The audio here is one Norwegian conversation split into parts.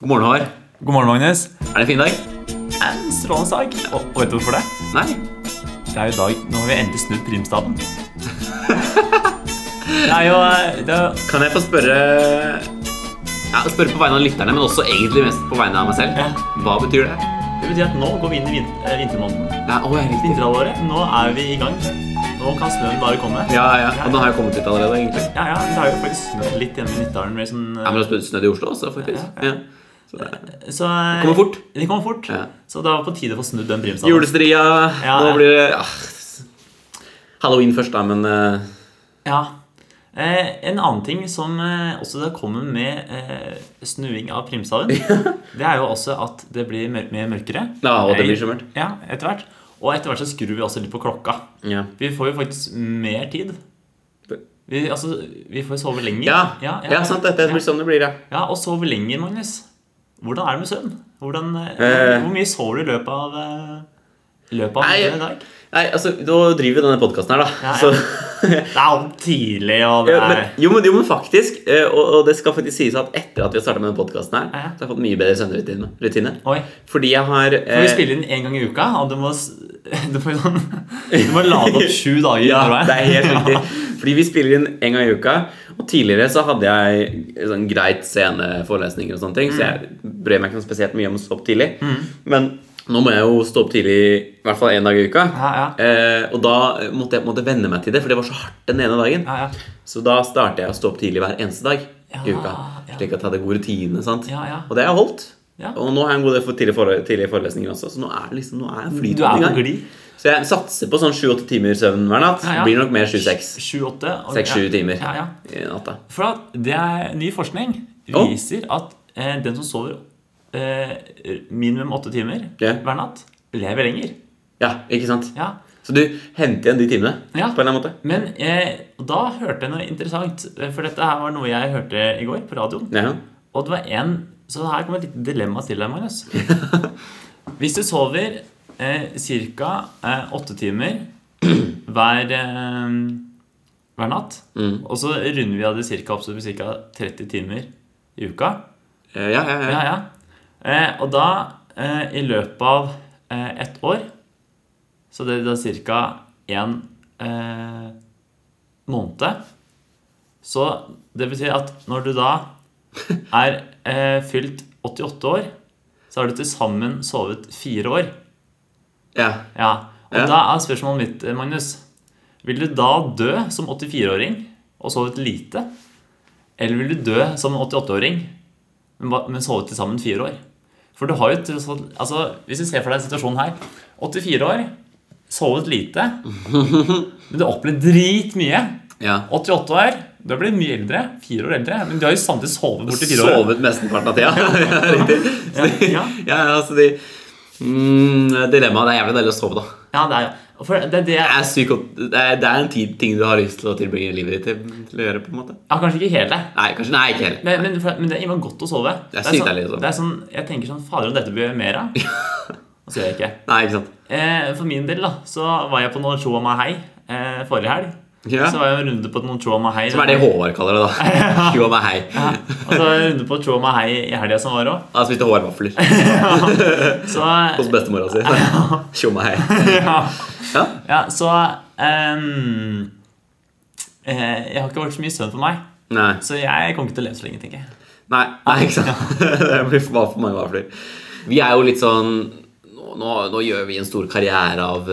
God morgen, Håvard. God morgen, Magnus. Er det en fin dag? En strålende dag. Og, og vet du hvorfor det? Nei? Det er jo i dag Nå har vi endelig snudd primstaven. Det er jo eh, det er, Kan jeg få spørre ja, Spørre på vegne av lytterne, men også egentlig mest på vegne av meg selv. Ja. Hva betyr det? Det betyr at nå går vi inn i vin- eh, vintermåneden. Ja, å, jeg riktig. Vinterhalvåret. Nå er vi i gang. Nå kan snøen bare komme. Ja, ja. Og nå har jeg kommet hit allerede, egentlig. ja, ja, det har jo faktisk snødd litt hjemme i Nittdalen. med Sånn, eh, Ja, men det har spødd snødd i Oslo også, faktisk. Ja, Ja. Så det så, eh, det kommer fort. Det kommer fort. Ja. Så det var på tide å få snudd den primstaven. Julestria. Ja, Nå ja. blir det ja. Halloween først, da, men eh, Ja. Eh, en annen ting som eh, også det kommer med eh, snuing av primstaven, det er jo også at det blir mør mye mørkere. Ja, og det blir så mørkt. Ja, etter hvert. Og etter hvert så skrur vi også litt på klokka. Ja. Vi får jo faktisk mer tid. Vi, altså, vi får sove lenger. Ja, ja, ja, ja. sant. Dette blir sånn det blir, ja. Ja, og sove lenger, Magnus. Hvordan er det med søvn? Hvordan, eh, Eh. Hvor mye sover du i løpet av eh, løpet av Nei, dagen i dag? Nei, altså, nå driver vi denne podkasten her, da. Ja, ja. Så Det er jo tidlig, og det Ja, er men, jo, men, jo, men faktisk, eh, og, og det skal faktisk sies at etter at vi har starta med denne podkasten her, Ja. så har jeg fått mye bedre søvnrutine. rutine. Oi. Fordi jeg har eh, Når vi spiller inn én gang i uka, og du må, s- du må, sånn, du må lade opp sju dager. Ja, tror jeg. det er helt Ja. riktig. Fordi vi spiller inn en gang i uka. Og tidligere så hadde jeg sånn greit sene forelesninger og sånne ting, Mm. så jeg brød meg ikke noe spesielt mye om å stå opp tidlig. Men nå må jeg jo stå opp tidlig i hvert fall én dag i uka. Ja, ja. Eh, og da måtte jeg på en måte venne meg til det, for det var så hardt den ene dagen. Ja, ja. Så da starter jeg å stå opp tidlig hver eneste dag i Ja, uka. ja. Slik at jeg hadde god rutine. sant? Ja, ja. Og det har jeg holdt. Ja. Og nå har jeg en god del for tidlige, fore tidlige forelesninger også, så nå er det liksom, nå er jeg Du er flytende i på gang. glid. Så jeg satser på sånn 7-8 timer søvn hver natt. Ja, ja. Blir nok mer 7-6. Sju-åtte. og- 6-7 ja. timer Ja, ja. i natta. For at det er ny forskning Å. viser at eh, den som sover eh, minimum åtte timer Ja. hver natt, lever lenger. Ja, ikke sant? Ja. Så du henter igjen de timene Ja. på en eller annen måte. Men eh, da hørte jeg noe interessant, eh, for dette her var noe jeg hørte i går på radioen. Ja. Og det var en Så her kommer et lite dilemma til deg, Magnus. Hvis du sover eh, ca. Eh, åtte timer hver, eh, hver natt, og så runder vi av det cirka opp så det blir ca. 30 timer i uka Eh, Ja, ja, ja. Ja, ja. Eh, og da, eh, i løpet av eh, ett år, så det er da ca. én eh, måned Så det betyr at når du da er eh, fylt 88 år, så har du til sammen sovet fire år. ja. Ja. Og Ja. da er spørsmålet mitt, eh, Magnus Vil du da dø som 84-åring og sovet lite? Eller vil du dø som 88-åring, men ba- men sovet til sammen fire år? For du har jo tross alt altså, Hvis du ser for deg situasjonen her 84 år, sovet lite, men du har opplevd dritmye. ja. 88 år, du har blitt mye eldre. Fire år eldre, men du har jo samtidig sovet bort til fire år. Sovet mesteparten av tida. ja, riktig. Så Ja, de- ja. ja, ja, så de mm, Dilemmaet. Det er jævlig deilig å sove, da. Ja, det er jo for det, er det, Det er, psyko- det er, det er en tid, ting du har lyst til å tilbringe livet ditt til, til å gjøre. på en måte ja, Kanskje ikke hele. Nei, kanskje nei, ikke heller. Men, men, for, men det er innmari godt å sove. Det er sykt sånn, deilig å sove. det er sånn, Jeg tenker sånn Fader, om dette blir jeg mer av. Og så gjør jeg ikke. Nei, ikke sant? Eh, for min del da, så var jeg på noen show av meg hei eh, forrige helg. Ja. Så var jeg en runde på noen show av meg hei. Som er det Håvard kaller det, da. Jo, meg hei. Ja, og så var jeg en runde på show av meg hei i helga som var òg. Han spiste hårvafler Så, hos bestemora si. Tjo meg hei. ja, Ja. ja, så ehm, eh, Jeg har ikke vært så mye søvn for meg, Nei. så jeg kommer ikke til å leve så lenge, tenker jeg. Nei, nei, ikke sant? Det blir for for mange vafler. Vi er jo litt sånn Nå, nå- nå gjør vi en stor karriere av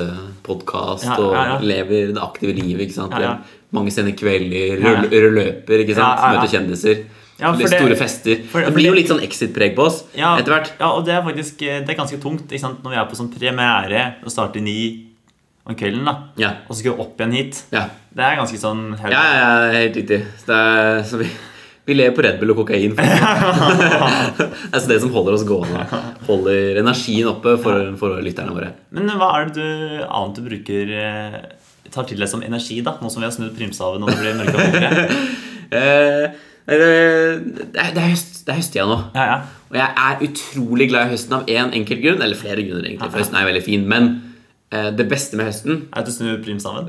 podkast Ja, og ja, ja. lever det aktive livet. ikke sant? Ja, ja. Mange sene kvelder, Ja, ja. rull- løper, ikke sant? Ja, ja, ja. møter kjendiser. Ja, for litt det- store fester. for- det for blir jo det- litt sånn exit-preg på oss Ja, etter hvert. Ja, og det er faktisk eh, det er ganske tungt ikke sant? når vi er på sånn premiere og starter ni om kvelden, da. Ja. og så skal vi opp igjen hit. Ja. Det er ganske sånn heavy. Ja, ja, ja, det er helt riktig. Så, det er, så vi, vi lever på Red Bull og kokain. for å si Det Det er så det som holder oss gående. Holder energien oppe for, for lytterne våre. Men hva er det du annet du bruker eh, tar til deg som energi, da? Nå som vi har snudd primstaven og det blir mørkere og mørkere. Eh, det, det, er- det er høst, det er høsttida nå. Ja, ja. Og jeg er utrolig glad i høsten av én enkelt grunn. Eller flere grunner, egentlig. For høsten er jo veldig fin. Men eh, det beste med høsten Er det at du snur primstaven?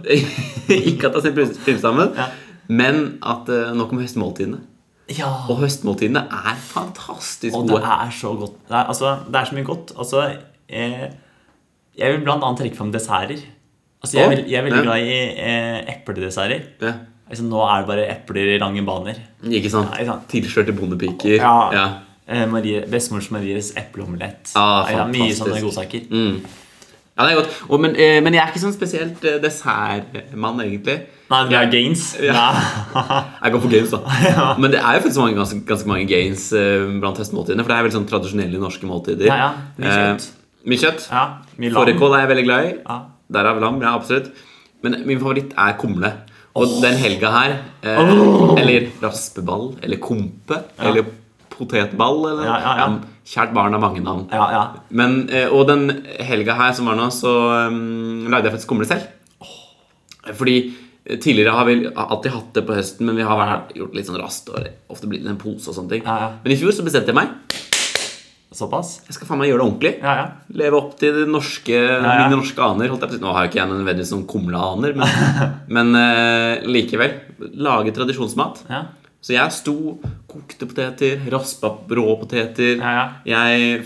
Ikke at det er primstammen, Ja. men at eh, nok om høstmåltidene. Ja. Og høstmåltidene er fantastisk Og det gode. er så godt. Det er, altså, det er så mye godt. Altså, eh, jeg vil blant annet trekke fram desserter. Altså, Å, jeg, er vel- jeg er veldig ja. glad i eh, epledesserter. Ja. Altså, nå er det bare epler i lange baner. Ikke sant? Ja, ikke sant. Tilskjørte bondepiker. Ja. Ja. Eh, Marie, Bestemors Maries epleomelett. Ah, Ja, mye sånne fantastisk. godsaker. Mm. ja, det er godt. Og, men, eh, men jeg er ikke sånn spesielt eh, dessertmann, egentlig. Nei, det er gains. Jeg går for games, da. Men det er jo faktisk mange, ganske, ganske mange games eh, blant høstmåltidene. For det er veldig sånn tradisjonelle norske måltider. Ja, ja. Mye kjøtt. Eh, mye kjøtt. Ja, mye lam. Fårikål er jeg veldig glad i. Ja. Derav lam, ja, absolutt. Men min favoritt er kumle. Og den helga her eh, Eller raspeball, eller kompe, eller potetball, eller Ja, ja, ja. Kjært barn har mange navn. Ja, ja. Men, eh, og den helga her som var nå, så um, lagde jeg faktisk kumle selv. Fordi eh, tidligere har vi har alltid hatt det på høsten, men vi har vært, gjort litt sånn rast og ofte blitt en pose og sånne ting. Ja, ja. Men i fjor så bestemte jeg meg. Såpass? Jeg skal faen meg gjøre det ordentlig. Ja, ja. Leve opp til det norske, ja. mine norske aner. Holdt jeg på. å si. Nå har jo ikke jeg nødvendigvis sånn kumleaner, men, men eh, likevel. Lage tradisjonsmat. Ja, Så jeg sto, kokte poteter, raspa rå poteter. ja. ja. Jeg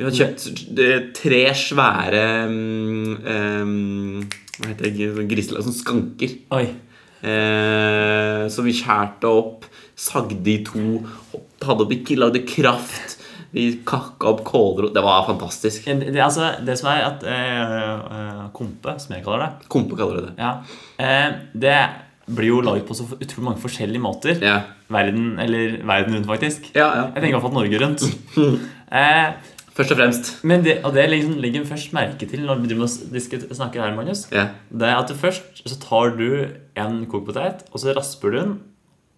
Vi har kjøpt eh, tre svære mm, em, Hva heter det? sånn Griselag, sånn skanker. Oi. Eh, som vi skjærte opp, sagde i to, hopp- hadde opp, ikke lagde kraft. Vi kakka opp kålrot. Det var fantastisk. Det, det- altså, det som er at eh, eh, kompe, som jeg kaller det, Kompe kaller det det. ja, eh, det blir jo laget på så utrolig mange forskjellige måter. Ja. Verden, eller verden rundt, faktisk. Ja, Jeg ja. tenker i hvert fall Norge rundt. eh, Først og fremst. men det, og det liksom legger vi først merke til når vi driver med å diskut- snakke her, Magnus. Ja. Det er at du først så tar du en kokepotet, og så rasper du den,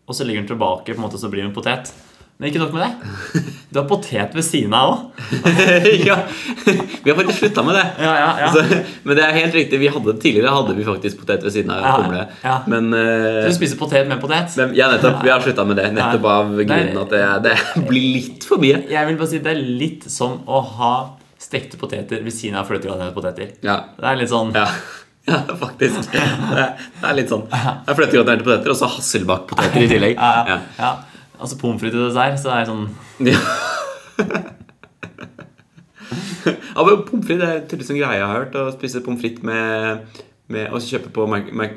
og så legger den tilbake, på en måte, og så blir det en potet. Men ikke nok med det. Du har potet ved siden av òg. ja. Vi har faktisk slutta med det. Ja, ja, ja. Så, men det er helt riktig. Vi hadde, tidligere hadde vi faktisk potet ved siden av Ja, kumle. ja. Men eh, Du spiser potet med potet. men- ja, nettopp. Vi har slutta med det. Nettopp av grunnen at det, det blir litt for mye. Jeg vil bare si Det er litt som å ha stekte poteter ved siden av fløtegranerte poteter. Ja. Det er litt sånn Ja, ja faktisk. Det er, det er litt sånn. Det er fløtegraterte poteter og så Hasselbakk-poteter i tillegg. ja. Ja. ja. Altså pommes frites og dessert, så er det sånn Ja. ja, men Pommes frites det er tydeligvis en greie jeg har hørt. Å spise pommes frites med, med Og så kjøpe på, Mac, Mac,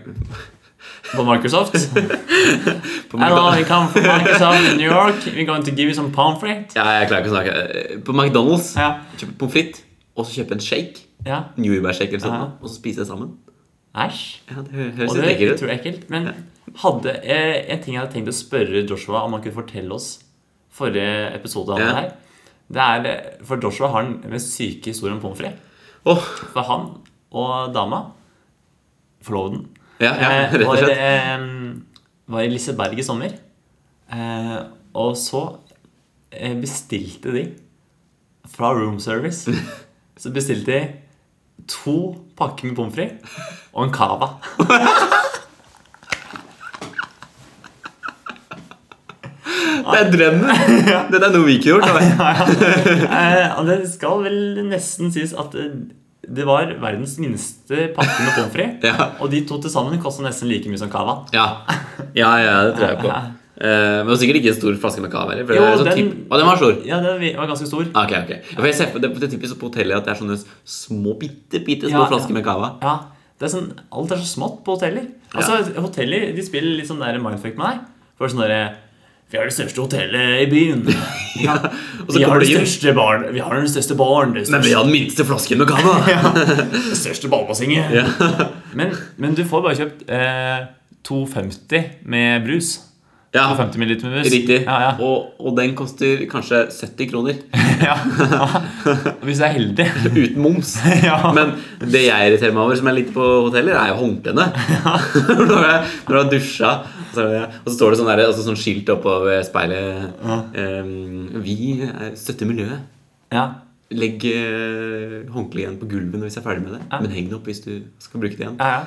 på Microsoft. på Hello, we McDonald's. come from Microsoft in New York. We're going to give you some pommes frites. Ja, jeg klarer ikke å snakke. Eh, På McDonald's Ja. kjøpe pommes frites og så kjøpe en shake. ja. Newbær-shake eller Ja. sånn, og så spise det sammen. Æsj. Ja, Det hø- Og høres det litt jeg ekkelt ut. tror jeg er ekkelt. Men hadde eh, en ting jeg hadde tenkt å spørre Joshua om han kunne fortelle oss forrige episode han Ja. var her. Det er, eh, For Joshua har den mest syke historien om pommes frites. Åh, For han og dama Forloveden ja, ja, eh, rett og var, slett. eh, var i Liseberg i sommer. Eh, og så eh, bestilte de fra room service Så bestilte de to pakker med pommes frites og en cava. Det er drømmen! Dette er noe vi ikke har gjort. da. Eh, og det skal vel nesten sies at eh, det var verdens minste pakke med pommes frites. Ja. Og de to til sammen kosta nesten like mye som cava. Ja. ja, ja, det tror jeg på. Eh, men det var sikkert ikke en stor flaske med cava heller. for det Jo, er sånn den- typ... Å, den var stor. Ja, den vi- var ganske stor. Ah, Ok, ok. Ja, For jeg ser på det, det er typisk på hotellet at det er sånne små, bitte, bitte små Ja, ja. flasker med cava. Ja, det er sånn, Alt er så smått på hoteller. Altså, Hoteller de spiller litt sånn der mindfuck med deg. For sånn derre Vi har det største hotellet i byen. Ja. Og så Vi har kommer det de inn. største barn Vi har den største barn. Men Det største, vi har den minste flasken med cava! det største ballbassenget. men, men du får bare kjøpt eh, 2,50 med brus. Ja, 2,50 ml med brus. riktig. Ja, ja. Og, og den koster kanskje 70 kroner. Hvis du er heldig. Uten moms. Ja. Men det jeg irriterer meg over, som er litt på hoteller, er jo håndklærne. når, jeg- når du har dusja, og så, er det- og så står det sånn, der, altså sånn skilt oppover speilet ehm, Vi er- støtter miljøet. Ja. Legg eh, håndkleet igjen på gulvet når vi er ferdig med det. Men heng det opp hvis du skal bruke det igjen. Ja, ja.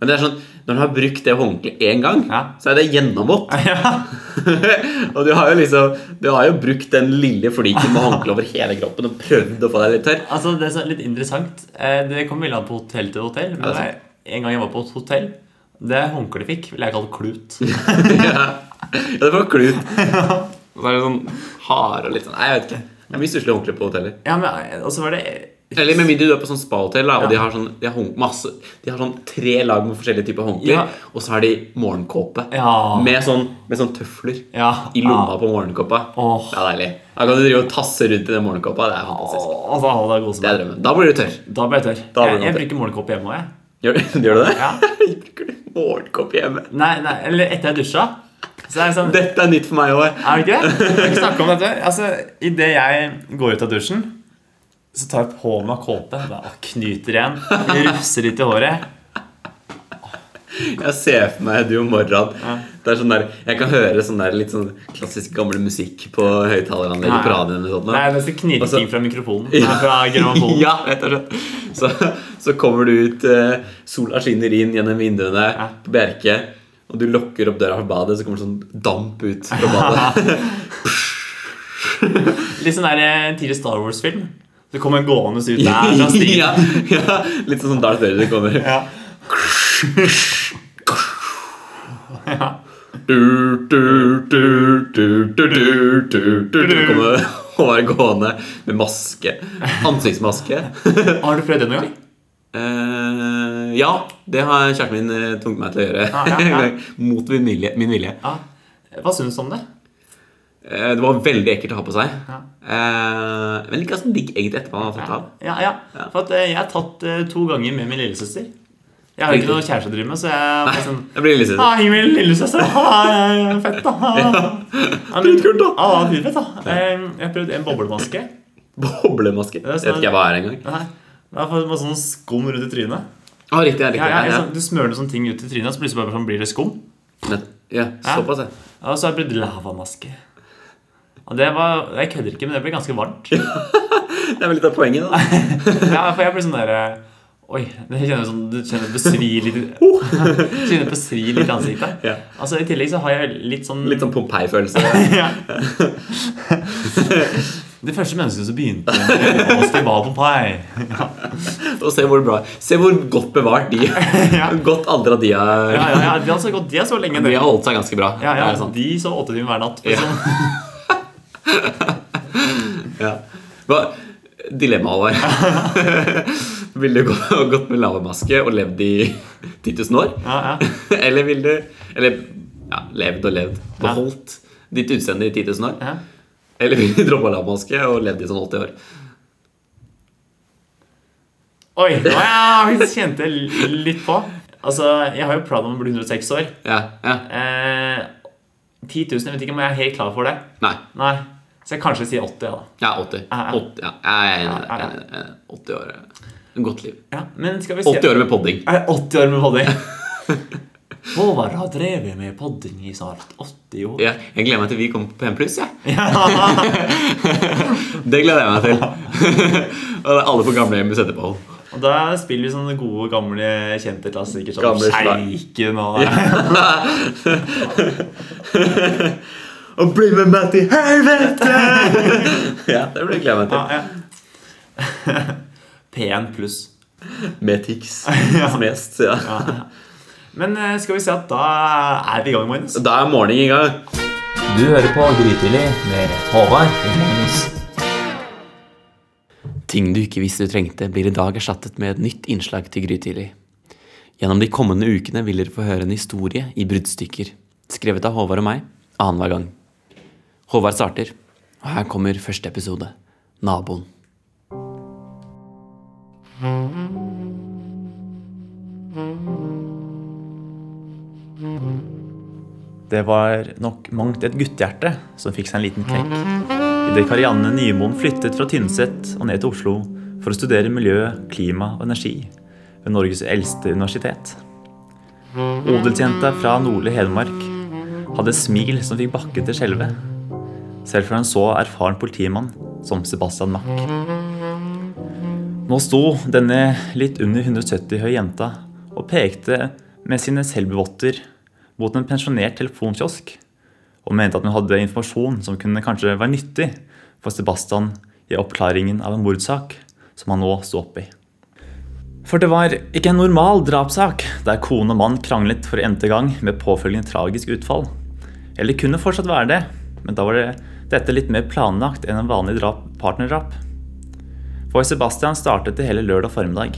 Men det er sånn, når du har brukt det håndkleet én gang, Ja. så er det gjennomvått. ja. og du har jo liksom Du har jo brukt den lille fliken med håndkle over hele kroppen og prøvd å få deg litt tørr. Altså, det er så litt interessant. Eh, Det kommer veldig an på hotell til hotell. Men Ja, det er det er en gang jeg var på et hotell, det håndkleet jeg fikk, ville jeg kalt klut. ja. Ja, det var klut. Og så er det sånn hard og litt sånn Nei, jeg vet ikke. Jeg blir stusslig ordentlig på hoteller. Ja, men, eh, og så var det Eller med mindre du er på sånn spahotell, da, og de har sånn de har, hånd- masse, de har sånn tre lag med forskjellige typer håndklær, Ja. og så har de morgenkåpe Ja. med, sånn, med sånn tøfler Ja. i lomma på morgenkåpa. Åh. Det er deilig. Da kan du drive og tasse rundt i den morgenkåpa. Det er fantastisk. Åh, da, da, koser Det jeg er drømmen. Da blir du tørr. meg. da ble jeg tørr. Da ble du jeg, jeg tørr. bruker morgenkopp hjemme òg, jeg. Gjør, du- gjør du det? Ja. Bruker du morgenkopp hjemme? Nei, nei, eller etter jeg dusja. Så er det sånn Dette er nytt for meg òg. Er det ikke det? Vi har ikke snakket om dette. Altså, Idet jeg går ut av dusjen, så tar jeg på meg kåpe. Da knyter igjen. Rufser litt i håret. Jeg ser for meg du og Morran. Det er sånn der, jeg kan høre sånn der litt sånn klassisk gamle musikk på høyttaleranlegget på radioen. eller sånt Nei, nå. nesten knirking Altså- fra mikrofonen. Nei, fra grammofonen. Ja, rett og slett. Så, så kommer du ut, eh, sola skinner inn gjennom vinduene på Bjerke, og du lukker opp døra fra badet, så kommer det sånn damp ut fra badet. Litt sånn der eh, tidlig Star Wars-film. Så kommer jeg gående ut der fra stigen. ja, ja, litt sånn som Darth Vader kommer. Ja. Du, du, du, du, du, du, du, du, du kommer og er gående med maske. Ansiktsmaske. Har du prøvd det noen gang? Eh, ja, det har kjæresten min eh, tvunget meg til å gjøre. Ah, ja, ja. En gang, Mot min vilje. Min vilje. Ja. Hva syns du om det? Eh, det var veldig ekkelt å ha på seg. Ja. Eh, men like ganske digg egentlig etterpå. Han har tatt Ja, av. ja. For at eh, jeg har tatt eh, to ganger med min lillesøster. Jeg har jo ikke noe kjæreste å drive med, så jeg var sånn Jeg blir litt Ah, Ingvild, lillesøster. Ah, fett, da. Ja, men- Dritkult, da. Ah, dritfett, da. Eh, Jeg har prøvd en boblemaske. Boblemaske. er Jeg sånn- vet ikke hva er engang. Nei, Det er for- med sånn skum rundt i trynet. Ah, riktig, jeg Ja, liker ja, det. sånn- du smører noen sånne ting ut i trynet, så plutselig bare sånn blir det skum. Ja, Nett- ja, såpass, ja. Ja, Og så har jeg prøvd lavamaske. Og det var, Jeg kødder ikke, men det ble ganske varmt. Det er vel litt av poenget, da. Ja, for jeg ble sånn der, eh, Oi, det kjenner sånn, Du kjenner besvir litt Kjenner besvir litt i ansiktet. Oh. Ja. Altså, I tillegg så har jeg litt sånn Litt sånn Pompeii-følelse. ja. Det første mennesket som begynte med oss, det var Pompeii. Og se hvor bra Se hvor godt bevart de Ja. Godt aldra de har Ja, ja, ja, de har så gått de er så lenge. De dere. har holdt seg ganske bra. Ja, ja, Det er sant. de så åtte timer hver natt. for Ja. sånn. Ja. Hva, dilemma, Halvard. Ville du gå- gått med lavemaske og levd i 10 000 år? Ja, ja. Eller vil du Eller ja, levd og levd. Beholdt ditt utseende i 10 000 år? Ja. Eller vil du droppe lavemaske og levd i sånn 80 år? Oi, nå har jeg faktisk kjente jeg litt på. Altså, Jeg har jo planer om å bli 106 år. Ja, ja. Eh, 10 000, jeg vet ikke om jeg er helt klar for det. Nei. Nei, Så jeg kanskje sier 80, ja, da. Ja, 80. Ja, ja. 80 ja. Jeg er enig i det. Ja, ja. Jeg er enig i det. 80 år er et godt liv. Ja, men skal vi se 80 år med podding. Er det 80 år med podding? Håvard har drevet med podding i snart 80 år. Ja, jeg gleder meg til vi kommer på P1 pluss. Ja. Ja. Det gleder jeg meg til. og det er alle på gamlehjemmet setter på. Og da spiller vi sånne gode, gamle, kjente klassikere som Gamle slag. Sjeiken og Og bli med meg til helvete! ja, det blir jeg gleder meg ja, til. ja. P1 pluss. Med Tix som gjest. Ah. Ja. Men eh, skal vi se at da er vi i gang, Magnus. Da er morgenen i gang. Du hører på Grytidlig med Håvard og Magnus. Ting du ikke visste du trengte, blir i dag erstattet med et nytt innslag til Grytidlig. Gjennom de kommende ukene vil dere få høre en historie i bruddstykker, skrevet av Håvard og meg annenhver gang. Håvard starter, og her kommer første episode, Naboen. Det var nok mangt et guttehjerte som fikk seg en liten knekk. Idet Karianne Nymoen flyttet fra Tynset og ned til Oslo for å studere miljø, klima og energi ved Norges eldste universitet. Odelsjenta fra nordlige Hedmark hadde et smil som fikk bakken til å skjelve. Selv fra en så erfaren politimann som Sebastian Mack. Nå sto denne litt under 170 høye jenta og pekte med sine selvvotter mot en pensjonert telefonkiosk og mente at hun hadde informasjon som kunne kanskje være nyttig for Sebastian i oppklaringen av en mordsak som han nå sto oppi. For det var ikke en normal drapssak der kone og mann kranglet for n-te gang med påfølgende tragisk utfall. Eller det kunne fortsatt være det, men da var det dette litt mer planlagt enn en vanlig drap, partnerdrap. For Sebastian startet det hele lørdag formiddag.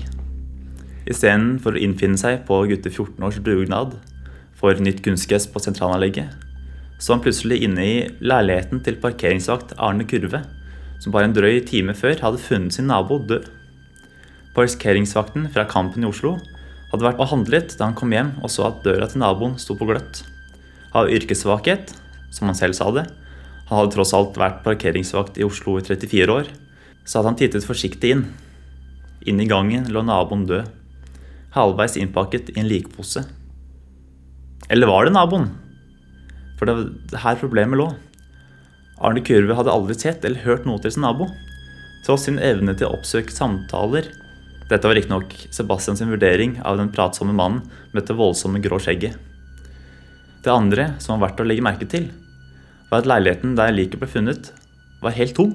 Istedenfor å innfinne seg på gutter 14 års dugnad for nytt kunstgress på sentralanlegget, så var han plutselig inne i leiligheten til parkeringsvakt Arne Kurve, som bare en drøy time før hadde funnet sin nabo død. Parkeringsvakten fra Kampen i Oslo hadde vært og handlet da han kom hjem og så at døra til naboen sto på gløtt. Av yrkessvakhet, som han selv sa det, han hadde tross alt vært parkeringsvakt i Oslo i 34 år, så hadde han tittet forsiktig inn. Inne i gangen lå naboen død, halvveis innpakket i en likpose. Eller var det naboen? For det var her problemet lå. Arne Kurve hadde aldri sett eller hørt noe til sin nabo, tross sin evne til å oppsøke samtaler. Dette var riktignok Sebastian sin vurdering av den pratsomme mannen med dette voldsomme grå skjegget. Det andre som var verdt å legge merke til, var at leiligheten der liket ble funnet, var helt tom.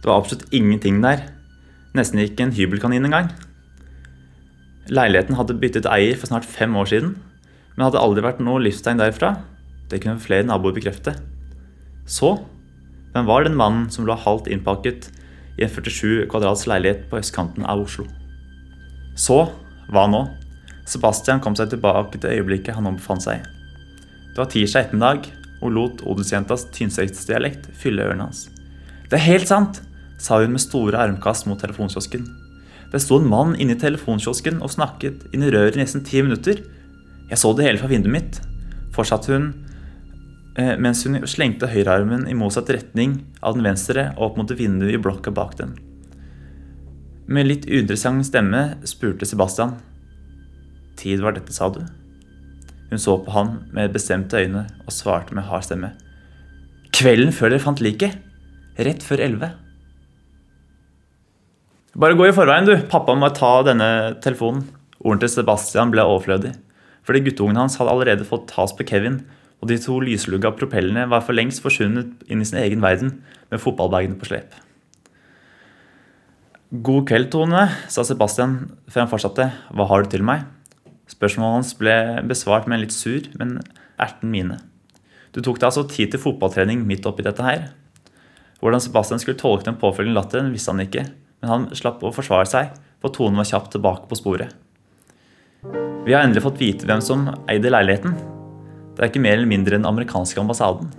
Det var absolutt ingenting der. Nesten ikke en hybelkanin engang. Leiligheten hadde byttet eier for snart fem år siden, men hadde aldri vært noe livstegn derfra. Det kunne flere naboer bekrefte. Så, hvem var den mannen som lå halvt innpakket i en 47 kvadrats leilighet på østkanten av Oslo? Så, hva nå? Sebastian kom seg tilbake til øyeblikket han ombefant seg. i. Det var tirsdag ettermiddag og lot odelsjentas tynsøytsdialekt fylle ørene hans. Det er helt sant, sa hun med store armkast mot telefonkiosken. Det sto en mann inne i telefonkiosken og snakket inn i røret i nesten ti minutter. Jeg så det hele fra vinduet mitt, fortsatte hun eh, mens hun slengte høyrearmen i motsatt retning av den venstre og opp mot vinduet i blokka bak den. Med litt uinteressant stemme spurte Sebastian. Tid var dette, sa du? Hun så på han med bestemte øyne og svarte med hard stemme. Kvelden før dere fant liket. Rett før elleve. Bare gå i forveien, du. Pappa må ta denne telefonen. Ordene til Sebastian ble overflødig. Fordi guttungen hans hadde allerede fått tas på Kevin, og de to lyslugga propellene var for lengst forsvunnet inn i sin egen verden med fotballbagene på slep. God kveld, Tone, sa Sebastian før han fortsatte. Hva har du til meg? Spørsmålet hans ble besvart med en litt sur, men erten mine. Du tok deg altså tid til fotballtrening midt oppi dette her. Hvordan Sebastian skulle tolke den påfølgende latteren, visste han ikke, men han slapp å forsvare seg, for tonen var kjapt tilbake på sporet. Vi har endelig fått vite hvem som eide leiligheten. Det er ikke mer eller mindre enn den amerikanske ambassaden.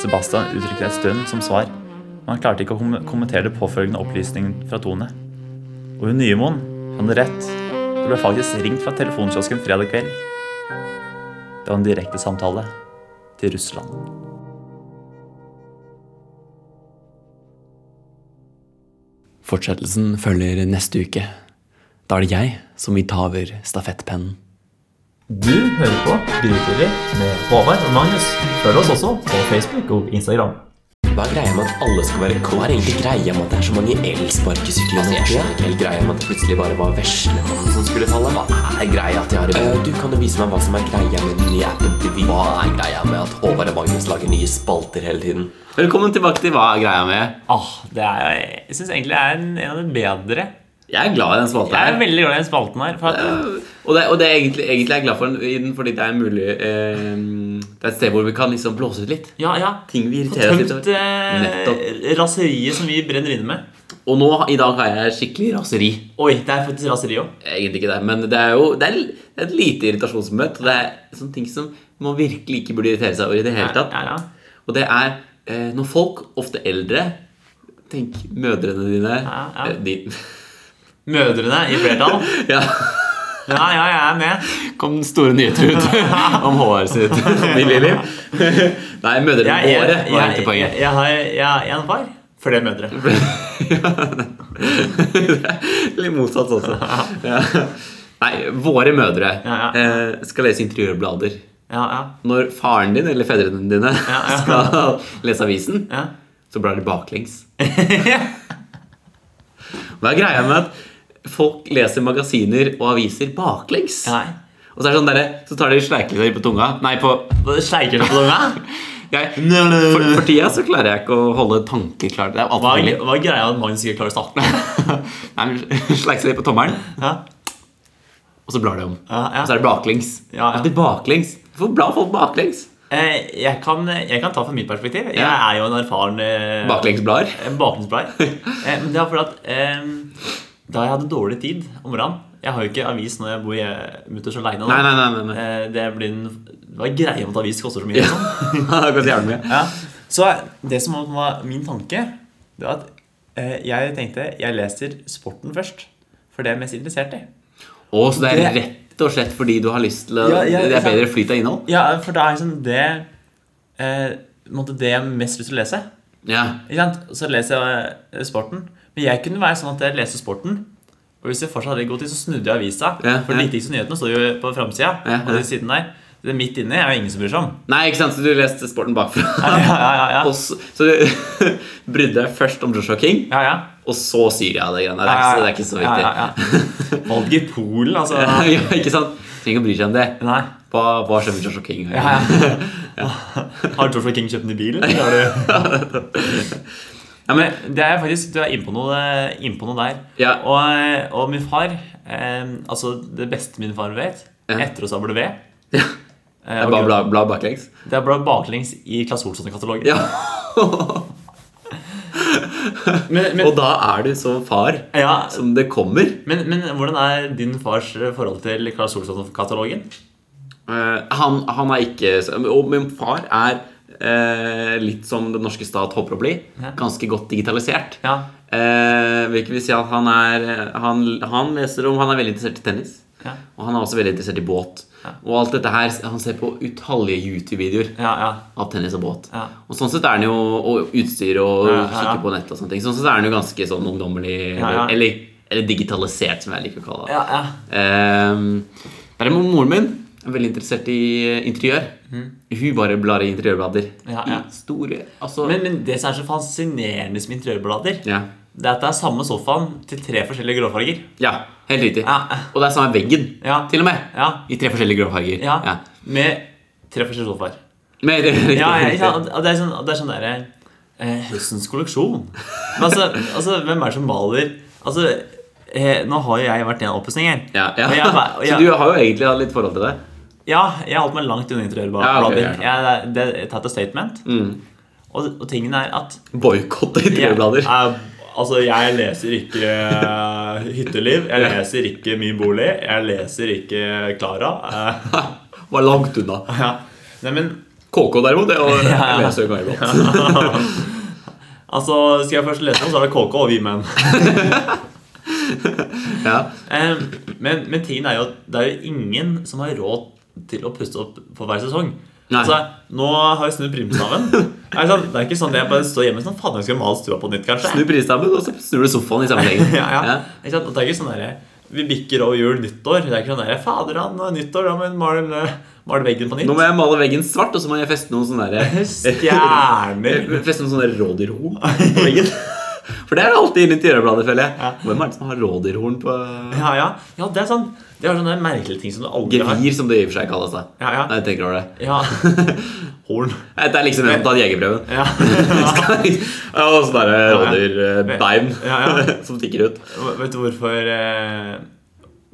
Sebastian uttrykte et stønn som svar, men han klarte ikke å kom- kommentere det påfølgende opplysningen fra Tone. Og hun Nymoen han hadde rett. Det ble faktisk ringt fra telefonkiosken fredag kveld. Det var en direktesamtale til Russland. Fortsettelsen følger neste uke. Da er det jeg som vil ta over stafettpennen. Du hører på Grytidlig med Håvard og Magnus. Følg oss også på Facebook og Instagram. Hva er greia med at alle skal være coach? Hva er egentlig greia med at det er så mange elsparkesykler? Altså, jeg skjønner ikke helt greia med at det plutselig bare var veslemannen som skulle falle. Hva er greia at de har Eh, Du kan jo vise meg hva som er greia med den nye appen til Vy. Hva er greia med at Håvard og Magnus lager nye spalter hele tiden? Velkommen tilbake til Hva er greia med? Ah, det er, jeg syns egentlig det er en, en av de bedre. Jeg er glad i den spalta Jeg er her. veldig glad i den spalten her. For at, Og det, og det er egentlig, egentlig er jeg glad for den, i den fordi det er en mulig eh, Det er et sted hvor vi kan liksom blåse ut litt. ja, ja. Ting vi Få irriterer oss litt tømt over. eh, Nettopp. raseriet som vi brenner inne med. Og nå, i dag har jeg skikkelig raseri. Oi, det er faktisk raseri òg. Egentlig ikke det, men det er jo det er, det er et lite irritasjonsmøte. Og det er sånne ting som man virkelig ikke burde irritere seg over i det hele tatt. Ja, ja. Og det er eh, når folk, ofte eldre Tenk mødrene dine. Ja, ja. eh, De, Mødrene i flertall. ja. Ja, ja, jeg er med. Kom den store nyheter ut om HR sitt familieliv. Nei, mødrene Jeg, jeg, våre jeg, var jeg, egentlig poenget. jeg, har, jeg har en far. Flere mødre. Litt motsatt også. Ja. Nei, våre mødre Ja, ja. eh, skal lese interiørblader. Ja, ja. Når faren din eller fedrene dine ja. skal lese avisen, ja. så blar de baklengs. Hva er greia med at folk leser magasiner og aviser baklengs? Nei. Og så er det sånn derre, så tar de sleikelitt på tunga. Nei, på Sleiker du på den? jeg, for, for tida så klarer jeg ikke å holde tanker klar. Det er alt Hva for er billig. hva er greia med at Magnus ikke klarer å starte? Nei, men Sleikse litt på tommelen, Ja, og så blar de om. ja, Og så ja. er det baklengs. Ja, ja. Alltid baklengs. Hvorfor blar folk baklengs? Eh, Jeg kan, jeg kan ta fra mitt perspektiv. Jeg Ja. er jo en erfaren eh, Baklengsblader. en bakgrunnsbleier. Eh, Men det er fordi at eh, da jeg hadde dårlig tid om morgenen Jeg har jo ikke avis når jeg bor eh, mutters aleine. Nei, nei, nei. nei, nei. Eh, Det blir en det var greia med at avis koster så mye. Liksom. Det koster jævlig mye. Ja. Så det som var min tanke, det var at eh, jeg tenkte jeg leser sporten først. For det er jeg mest interessert i. Å, så det er Det- rett og slett fordi du har lyst til å Ja, ja, Det er sant. bedre flyt av innhold? Ja, for det er liksom det eh, på en måte det jeg har mest lyst til å lese. Ja. Ikke sant? Så leser jeg eh, sporten. Men jeg kunne være sånn at jeg leser sporten. Og hvis jeg fortsatt hadde god tid, så snudde jeg avisa. Ja, For ja. de viktigste nyhetene står jo på framsida. Ja, Og ja. de siden der. Det er midt inni er jo ingen som bryr seg om. Nei, ikke sant, så du leste Sporten bakfra. Ja, ja, ja, ja. Og så, så du brydde deg først om Joshua King, ja, ja. og så Syria. Det, greiene. der. Det, er, ikke så- det er ikke så viktig. Ja, ja, ja. Valget i Polen, altså. ja, ikke sant? Trenger ikke å bry seg om det. Nei. Hva, hva skjer med Joshua King? Ja, ja. Har Joshua King kjøpt ny bil? eller har du- Ja, men, Det er faktisk, Du er inne på noe, inn på noe der. Ja. Og, og min far eh, Altså, det beste min far vet, Ja. etter å sable ved ja. eh, Jeg og bare gro- bla, bla baklengs. Det er bare baklengs i Claes Olsson-katalogen. Ja. Men, Og men, da er du så far ja, som det kommer. men, men hvordan er din fars eh, forhold til Claes Olsson-katalogen? Eh, han, han er ikke så- Og min far er eh, litt som den norske stat håper å bli. Ja. Ganske godt digitalisert. Ja. Eh, hvilket vil si at han er han, han leser om Han er veldig interessert i tennis. Ja. Og han er også veldig interessert i båt. Og alt dette her, Han ser på utallige YouTube-videoer. Ja, ja. av tennis og båt. Ja. Og sånn sett er den jo Og utstyr og Ja, ja, ja. kikke på nett og sånne ting. Sånn sett er den jo ganske sånn ungdommelig, Ja, ja. Eller, eller digitalisert, som jeg liker å kalle det. ja, ja. Ehm, Derimot moren min er veldig interessert i eh, interiør. Hun bare blar i interiørblader. Mm. Ja, ja. I store Altså Men, men det som er så fascinerende med interiørblader, ja. det er at det er samme sofaen til tre forskjellige gråfarger. ja, helt riktig. Ja. Og det er samme veggen, Ja. til og med. Ja, I tre forskjellige gråfarger. ja. Ja. Med tre forskjellige sofaer. Men, riktig, Ja, ja, ja, riktig. og det er sånn, og det er sånn derre eh, Høstens kolleksjon. Men altså, altså, hvem er det som maler Altså, eh, nå har jo jeg vært i en oppussing her. Ja, ja. Og jeg var- og Så jeg- du har jo egentlig hatt litt forhold til det. Ja, jeg har holdt meg langt unna Ja, ok, interiørblader. ja, Mm. jeg, det- det er tatt et statement. Og, og tingen er at Boikott av jeg, interiørblader. er- altså, jeg leser ikke eh, Hytteliv. Jeg leser ikke Min bolig. Jeg leser ikke Klara. eh, Var langt unna. ja. Nei, men KK derimot, det var Ja, ja. leser jo Garibald. altså, skal jeg først lese den, så er det KK og vi menn. Ja. Eh, men, men tingen er jo at det er jo ingen som har råd til å puste opp for hver sesong. Nei. Altså, nå har jeg snudd primstaven. Det er sånn- det er ikke sånn at jeg bare står hjemme og sånn Faen, jeg skal male stua på nytt, kanskje. Snu prisstammen, og så snur du sofaen i sammenheng. ja, ja. Ikke sant? Og Det er ikke sånn der, Vi bikker over jul nyttår. Det er ikke sånn der, Fader, han, nyttår, da må vi male, eh, male veggen på nytt. Nå må jeg male veggen svart, og så må jeg feste noen sånne der, Stjerner. Feste noen sånne der rådyrhorn på veggen. For det er alltid inne i interiørbladet, føler jeg. Ja. Hvem er det som har rådyrhorn på Ja, ja. ja, det er sånn Det er sånne merkelige ting som du aldri har. Gevir, som det i og for seg kalles. da Ja, ja. Nei, jeg tenker over det. Ja. Horn. Det er liksom en som har tatt jegerprøven. Ja. Ja, og sånn derre rådyrbein Ja, ja. som stikker ut. Vet du hvorfor eh,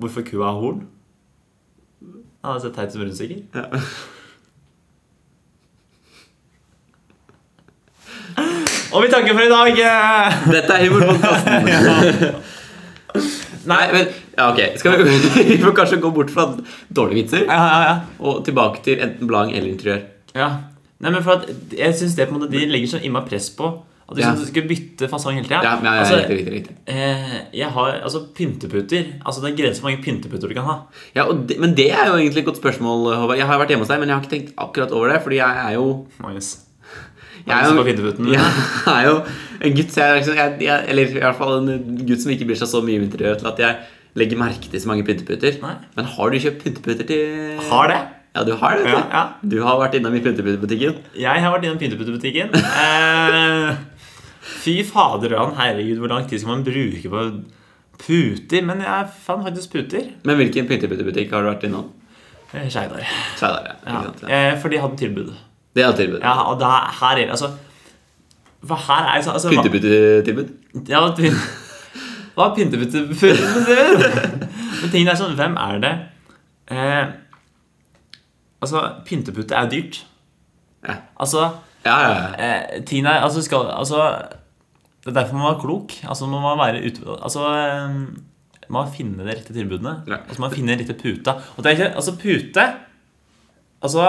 Hvorfor kua har horn? Han har sett teit som rundstykker. Og vi takker for i dag! eh. Dette er humorpodkasten. Nei, men ja, ok. Skal vi, vi får kanskje gå bort fra dårlige vitser Ja, ja, ja. og tilbake til enten blang eller interiør. Ja. Nei, men for at jeg synes det på en måte De legger så innmari press på at du Ja. synes du skal bytte fasong hele tida. Ja, ja, ja, altså, riktig, riktig, riktig. eh, jeg har altså pynteputer. Altså, det er grenser for hvor mange pynteputer du kan ha. Ja, og det, men det er jo egentlig et godt spørmål, Håvard. Jeg har vært hjemme hos deg, men jeg har ikke tenkt akkurat over det. Fordi jeg er jo Magnus. Jeg er Har du lyst jo, på pinneputen? jeg er jo en gutt så jeg, er liksom- jeg, jeg, Eller i hvert fall en gutt som ikke bryr seg så mye om interiør til at jeg legger merke til så mange pynteputer. Nei. Men har du kjøpt pynteputer til Har det. Ja, du har det. vet du. Ja, ja. Du har vært innom i pynteputebutikken. Jeg har vært innom pynteputtebutikken. Eh, fy fader og herregud, hvor lang tid skal man bruke på puter? Men jeg fant faktisk puter. Men hvilken pynteputebutikk har du vært innom? Eh, Skeidar. Sveidar. Ja. Ja. ikke sant, Ja. Eh, for de hadde tilbud. Det er tilbud. Ja, og da, her er det altså For her er altså, altså hva- Pynteputetilbud? Ja, men pyn- Hva er pyntebytte? Men tingen er sånn, hvem er det? Eh, altså, pynteputte er dyrt. Ja. Altså, Ja, ja, ja. eh, tingene er altså, skal, altså, Det er derfor man må være klok. Altså, man må være ute Altså eh, Man må finne de rette tilbudene. Ja. Altså, man finner den rette puta. Og det er ikke, altså, pute Altså,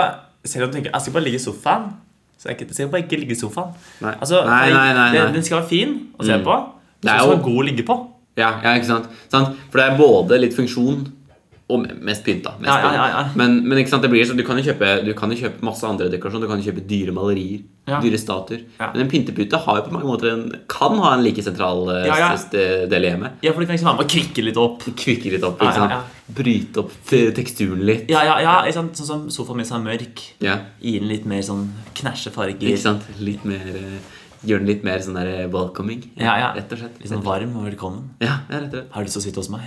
Selv om du tenker jeg skal bare ligge i sofaen, så er ikke, skal jeg bare ikke ligge i sofaen. Nei. Altså, Nei, jeg- nei, nei, nei. Den, den skal være fin å se på. Det Den er skal jo- være god å ligge på. ja, ja ikke sant? sant? For det er både litt funksjon og me- mest pynta. Mest Ja, ja, ja, ja. pynta. Men, men ikke sant, det blir så du kan jo kjøpe, du kan jo kjøpe masse andre dekorasjon. Du kan jo kjøpe dyre malerier, Ja. dyre statuer. Ja. Men en pyntepute har jo på mange måter en, kan ha en like sentral eh, Ja, ja. s- s- del i hjemmet. Ja, for det kan liksom være med å kvikke litt opp. Kvikke litt opp, Ja, ikke ja, sant? bryte opp te- teksturen litt. Ja, ja, ja, ikke sant? Sånn som sofaen min som er mørk. Ja, Gi den litt mer sånn knæsje farger. ikke sant? Litt mer, eh, gjør den litt mer sånn der eh, welcoming. Ja, ja. Rett og slett. Litt sånn varm og velkommen. Ja, ja, rett og slett. Har du lyst til å sitte hos meg?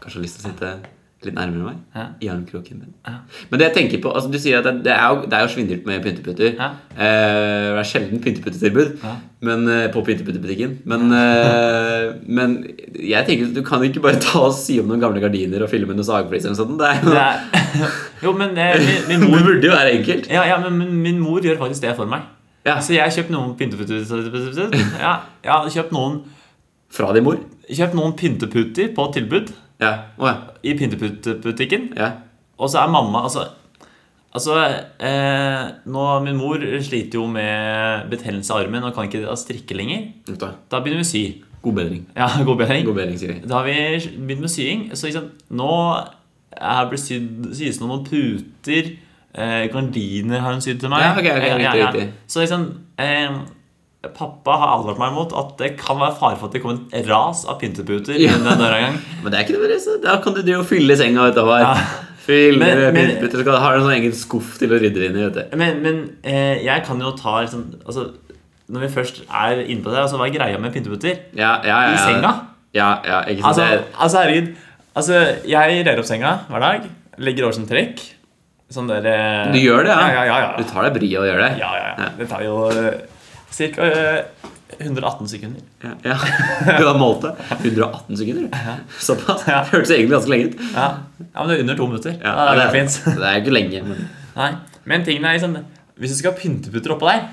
Kanskje har lyst til å sitte litt nærmere meg. Ja. I armkroken min. Ja. Men det jeg tenker på, altså du sier at det- det er jo, det er jo svindelt med pynteputter. Ja. Eh, det er sjelden pynteputtetilbud Ja. men, eh, på pynteputterbutikken. Men, eh, men jeg tenker at du kan jo ikke bare ta og sy om noen gamle gardiner og fylle med noe sagflis eller noe sånt. Det er jo, Det er... Jo, men eh, min, min det mor burde jo være enkelt. ja, ja, men min, min mor gjør faktisk det for meg. Ja. Så jeg har kjøpt noen pynteputer Ja, jeg har kjøpt noen, Fra din mor. kjøpt noen pynteputer på tilbud Ja. Å ja. i pynteputebutikken. ja. Og så er mamma Altså, altså eh, nå, Min mor sliter jo med betennelse i armen og kan ikke strikke lenger. Vet du hva. Da begynner vi å sy. God bedring. Ja, god bedring. God bedring, Siri. Da har vi begynt med sying. Så ikke sant, nå er det sydd, syes det noen puter. Eh, gardiner har hun sydd til meg. Eh, Ja, ok, ok, riktig, riktig. Så liksom eh, Pappa har advart meg mot at det kan være fare for at det kommer et ras av pynteputer. Ja. innen den døra en gang. Men det er ikke noe med det, så da kan du drive og fylle senga utover. Ja. Fylle Men- med men- pynteputter, så kan du ha en sånn egen skuff til å rydde det inn i. vet du. Men, men eh, jeg kan jo ta liksom, altså, Når vi først er inne på det, her, altså, hva er greia med pynteputer? Ja, ja, ja, I ja. senga? Ja, ja, ikke sant? Altså, det er- altså herregud. Altså, jeg rer opp senga hver dag. Legger over som trekk. Sånn der eh, Du gjør det, ja? Ja, ja, ja, ja. Du tar deg bryet og gjør det? Ja, ja, ja. Ja. Det tar jo eh, ca. 118 sekunder. ja. ja. Du har målt det? 118 sekunder? du. Såpass? Ja. Hørtes egentlig ganske lenge ut. Ja. ja, men det er under to minutter. Ja, Ja, det er det, fint. det er jo ikke lenge, men Nei. Men tingene er liksom Hvis du skal ha pynteputter oppå der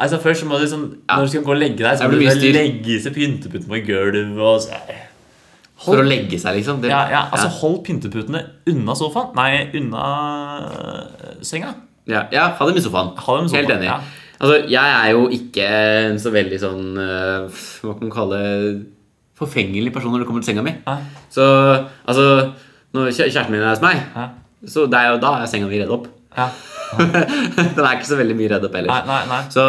Altså Først så må du liksom Når du skal gå og legge deg, så Det må blir du mye styr. legge disse pynteputene på gulvet. Og så. For å legge seg, liksom? Det, Ja, ja, altså Hold pynteputene unna sofaen. Nei, unna øh, senga. Ja, ja, ha det med sofaen. Ha det med sofaen, Helt enig. ja. Altså, jeg er jo ikke en så veldig sånn eh, Hva kan man kalle det? forfengelig person når det kommer til senga mi. Nei. Så altså Når kjæ- kjæresten min er hos meg, Ja. så det er jo, da er senga mi redd opp. Ja. Den er ikke så veldig mye redd opp Nei, ellers. nei, nei. Så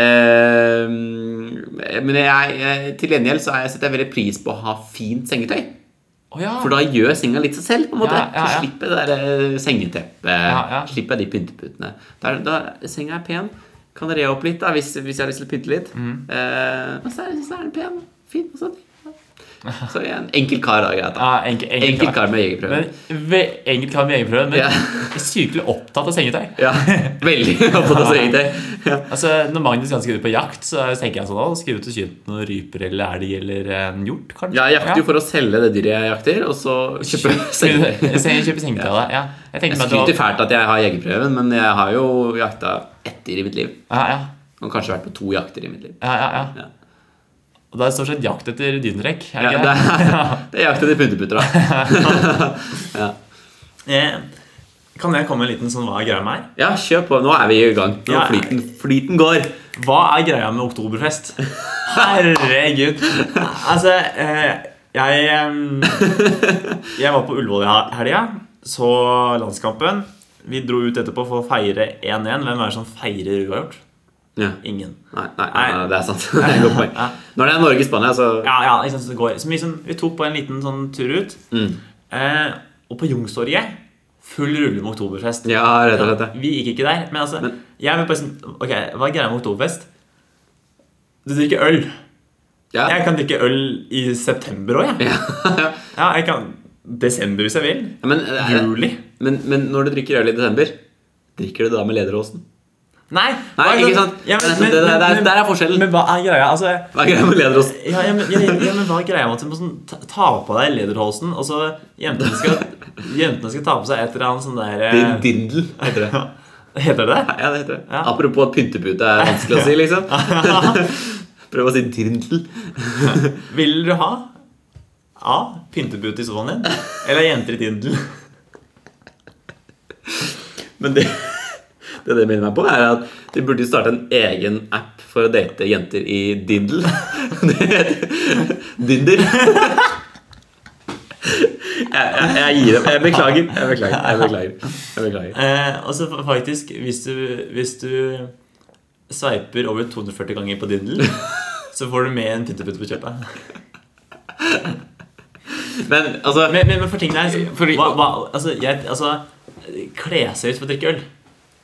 eh, Men jeg, jeg, til gjengjeld så er- setter jeg veldig pris på å ha fint sengetøy. Å ja. For da gjør senga litt seg selv. på en måte Ja, ja, ja. Så slipper jeg det der eh, sengeteppet, Ja, ja. slipper jeg de pynteputene. Da, er- da, senga er pen. Kan re opp litt da hvis, hvis jeg har lyst til å pynte litt. Mm. Eh, men så er, så er den pen. Fin og sånn. Så jeg er en enkel kar. Da, greit, da. ja, enkel, enkel, Enkel kar med jegerprøve. Men, ve, enkelt kar med egenprøve, men Ja. sykelig opptatt av sengetøy. Ja, veldig. opptatt av sengetøy. Ja. Altså, Når Magnus kan skru ut på jakt, så tenker jeg sånn «Å, Skal jeg ut og skyte noen ryper eller elg eller en hjort, kanskje? Jeg jakter jo for å selge det dyret jeg jakter, og så kjøpe sengetøy. Jeg ser- Kjøpe sengetøy av deg. Ja. Jeg Jeg tenkte meg at skryter det var fælt at jeg har jegerprøven, men jeg har jo jakta ett dyr i mitt liv. ja, ja, Og kanskje vært på to jakter i mitt liv. ja, ja, ja. Ja. Og det er stort sett jakt etter dynetrekk. Er Ja, det det, ikke det? er, det er jakt etter punteputter, da. Eh, Kan jeg komme med en liten sånn hva er greia med her? Ja, kjør på. Nå er vi i gang. Nå Ja. flyten, flyten går. Hva er greia med oktoberfest? Herregud. Altså, eh, jeg eh, Jeg var på Ullevål i helga, så landskampen. Vi dro ut etterpå for å feire 1-1. Hvem er det som feirer uavgjort? Ja. Ingen. Nei, nei, nei, nei, det er sant. Det er et godt poeng. Når det er Norge-Spania, så Ja, ja, ikke sant, så det går. Så vi, liksom, vi tok på en liten sånn tur ut. Eh, og på Youngstorget full rulle med oktoberfest. Ja, rett og slett. ja. Vi gikk ikke der, men altså jeg vil bare sånn, Ok, Hva er greia med oktoberfest? Du drikker øl. Ja. Jeg kan drikke øl i september òg, jeg. Ja. Ja, jeg kan desember hvis jeg vil. Men, eh, er det- Juli. men, men når du drikker øl i desember, drikker du da med lederåsen? Nei, Nei, hva er det- ikke sant? Ja, men, Det- det- det- men- det- der er forskjellen. Men hva er greia? Altså, Hva er greia med lederåsen? ja, ja, men, ja, ja, men hva er greia med at du må sånn, ta, ta på deg lederhosen, og så jentene skal, jentene skal ta på seg et eller annet sånn der eh, Dirndl, heter det. Heter det det? Ja, det heter det. Ja. Apropos at pyntepute er vanskelig å si, liksom. Prøv å si dirndl. Vil du ha A. Pyntepute i sofaen din? Eller jenter i Tindel? Men det, det det minner meg på, er at de burde starte en egen app for å date jenter i Dindel. Det heter Dinder. Jeg, jeg, jeg gir dem Jeg beklager. Jeg beklager. Jeg beklager. Jeg beklager. Eh, og så fa- faktisk, hvis du, hvis du sveiper over 240 ganger på Dindel, så får du med en pyntepute på kjøpet. Men altså Men, men, men for ting der så- Fordi- hva, hva, altså, jeg, altså, Kle seg ut for å drikke øl.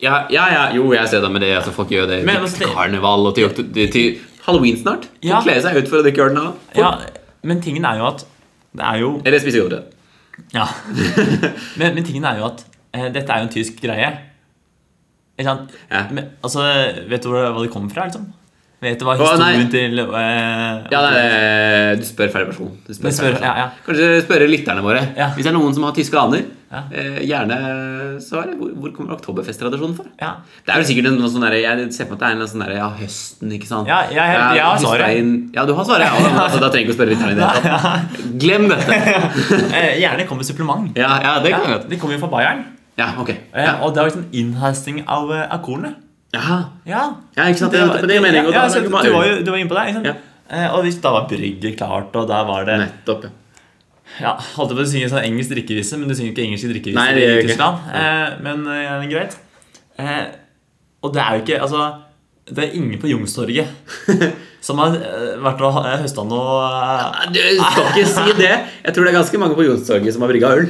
ja, ja, ja, jo, jeg ser det med det. Altså, folk gjør det Men, altså, til det- karneval og til, okto- til, til halloween snart. De Ja. kler seg ut for å drikke øl nå. Ja, men tingen er jo at Det er jo Eller spise godbrød. Ja. Men, men tingen er jo at eh, dette er jo en tysk greie. Ikke sant? Ja. Men, altså, vet du hvor, hva det kommer fra, liksom? Vet du hva Å, nei. historien til eh, Ja, det er, eh, du spør feil person. Du spør Jeg spør- feil person. ja, ja. Kanskje spørre lytterne våre. Ja. Hvis det er noen som har tyske aner, Ja. eh, gjerne svar. Hvor, hvor kommer oktoberfesttradisjonen fra? Ja. Det er vel sikkert en- noe sånn der, Jeg ser for meg at det er en sånn der, ja, høsten, ikke sant? Ja, jeg- jeg har svaret. høstregn. Ja, du har svaret. Ja, da, men altså, da trenger du ikke å spørre lytterne i det hele tatt. Glem dette! Eh, Gjerne kom med supplement. Ja, ja, det kan vi godt. de kommer jo fra Bayern. Ja, ok. eh, Ja, Og det er liksom innhasting av, eh, av kornet. Jaha. Ja. ja ikke sant? Det, var- det, det er meningen. og Ja, da så lager du man var øl. jo du var inne på det. ikke sant? Ja. Eh, og hvis- da var brygget klart, og da var det Nettopp, ja. Ja, holdt jeg på å synge en sånn engelsk drikkevise, men du synger ikke engelsk drikkevise Nei, det gjør i jeg ikke. Tyskland. Eh, men eh, greit. Eh, og det er jo ikke Altså, det er ingen på Youngstorget som har eh, vært og eh, høsta noe eh, Nei, Du skal ikke si det! Jeg tror det er ganske mange på Jonstorget som har brygga øl.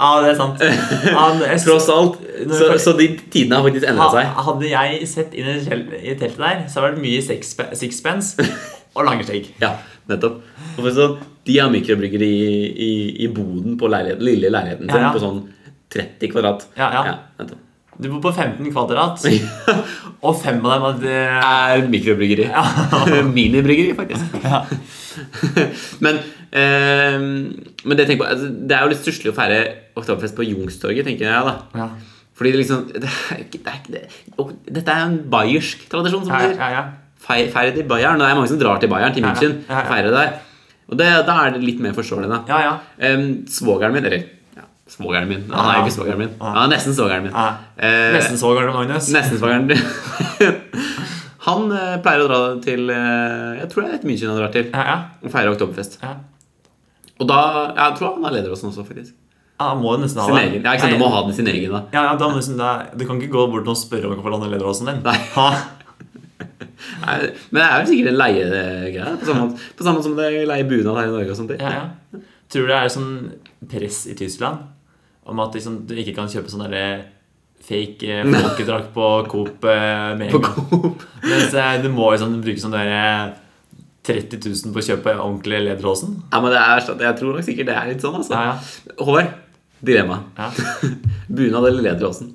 Ja, det er sant. Han, jeg, Tross alt. Så, så de tidene har faktisk endra seg. ha- hadde jeg sett inn i tel- i teltet der, så hadde det vært mye sixpe- sixpence og lange skjegg. Ja, nettopp. Og for sånn, de har mikrobryggeri i, i, i boden på leiligheten, lille leiligheten sin Ja, ja. på sånn 30 kvadrat. Ja, ja. nettopp. Du bor på 15 kvadrat, og fem av dem hadde er mikrobryggeri. Minibryggeri, faktisk. men, eh, men det, jeg tenker på, altså, det er jo litt stusslig å feire Oktoberfest på Youngstorget, tenker jeg. da ja. Fordi det liksom det er ikke, det er ikke, det, og Dette er en bayersk tradisjon, som Ja, man sier. ja, ja. Fei- Feire til Bayern. Og det er mange som drar til Bayern, til Ja, ja. München, Ja, ja. feire der. Og det, da er det litt mer forståelig, da. ja, ja. Em, svogeren min Eller ja, svogeren min. Han er jo ikke svogeren min. Han er nesten svogeren min. Ja. Eh, Nesten så gammel, Magnus. nesten svogeren din. Han eh, pleier å dra til eh, Jeg tror det er et München han drar til. Ja, ja. Og feire oktoberfest. ja. Og da Jeg tror han er leder hos oss også, faktisk. Ja, han må jo nesten ha Sin det. egen. Ja, ikke sant, Du må ha den sin egen, da. Ja, ja, da må du liksom, det, du kan ikke gå bort og spørre om hvordan han leder åsen din. Nei. Ha. Nei, Men det er vel sikkert en leiegreie. På samme måte- på samme måte som det er leie bunad her i Norge og sånt. Ja, ja. Tror du det er sånn press i Tyskland om at liksom, du ikke kan kjøpe sånn derre fake eh, folkedrakt på Coop eh, med På en gang? Coop. Mens eh, du må liksom bruke sånn derre 30 000 på å kjøpe ordentlig lederåsen. Ja, men det er, sånn- jeg tror nok sikkert det er litt sånn, altså. Ja, ja. Håvard, dilemma. Ja. Bunad eller lederåsen?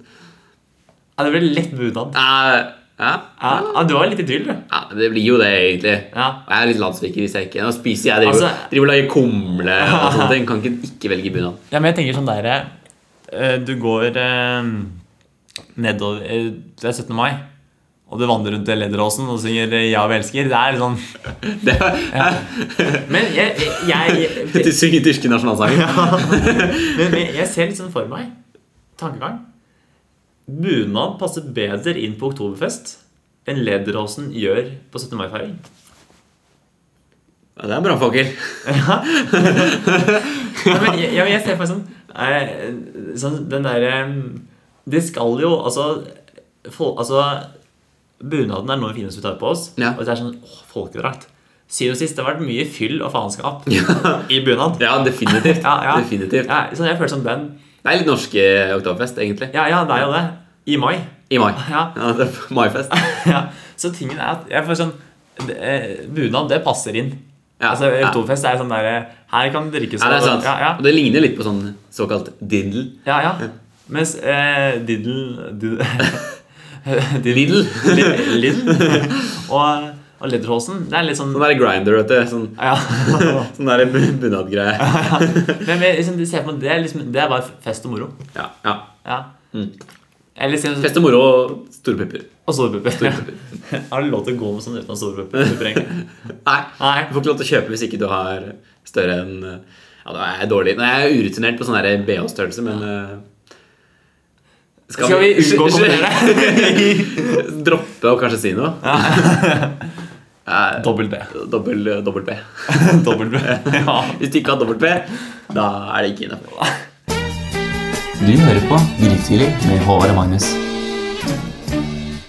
ja, det blir lett bunad. Eh, ja. Ja, ja, du var litt i tvil, du. ja, det blir jo det, egentlig. Ja. Og Jeg er litt landsviker hvis jeg ikke Nå spiser jeg driver, Altså- driver og lager kumle og sånne ting. Kan ikke, ikke velge bunad. Ja, men jeg tenker sånn der eh, Du går eh, nedover eh, Det er 17. mai, og du vandrer rundt i Lederåsen og synger eh, 'Ja, vi elsker'. Det er litt sånn Det er, Men jeg, jeg, Du jeg, synger tyske nasjonalsanger. men men jeg ser litt sånn for meg tankegang. Bunad passer bedre inn på oktoberfest enn Lederåsen gjør på 17. mai-feiring. Ja, det er en brannfakkel. Ja, men jeg, ja, men jeg ser for meg sånn, eh, sånn Den derre Det skal jo Altså, fol- altså Bunaden er noe det fineste vi tar på oss. Ja. Og det er sånn åh, folkedrakt. Siden sist det har vært mye fyll og faenskap i bunad. Ja, definitivt. Ja, ja. definitivt. Ja, sånn jeg føler som band. Det er litt norsk eh, oktoberfest, egentlig. Ja, ja, det er jo det. I mai. I mai. Ja. det er maifest. ja. Så tingen er at jeg får sånn det- eh, Bunad, det passer inn. Ja, Altså, ja. Oktoberfest er sånn derre Her kan det drikkes Ja, det er sant. Ja, ja. Og det ligner litt på sånn såkalt dindel. Ja, ja. Mens eh, Diddle Diddle Diddle, Lidl, og, og Lederhosen. Det er litt sånn Sånn der grinder, vet du. Sånn, ja. sånn der bu- bunadgreie. Men men liksom, du ser på det, er liksom, det er bare fest og moro. Ja, ja. Ja. Eller si Pest og moro og store pupper. Og Store sårpupper. pupper. Har du lov til å gå med sånn uten sårpupper? Nei. Nei. Du får ikke lov til å kjøpe hvis ikke du har større enn eh, Ja, da er jeg dårlig. Nei, jeg er urutinert på sånn her BH-størrelse, men eh, Skal vi unngå å Droppe å kanskje si noe? Eh, Dobbel B. Dobbel, eh, dobbel B. Dobbel B. Ja. Hvis du ikke har dobbel B, da er det ikke innafor. Du hører på Grytidlig med Håvard og Magnus.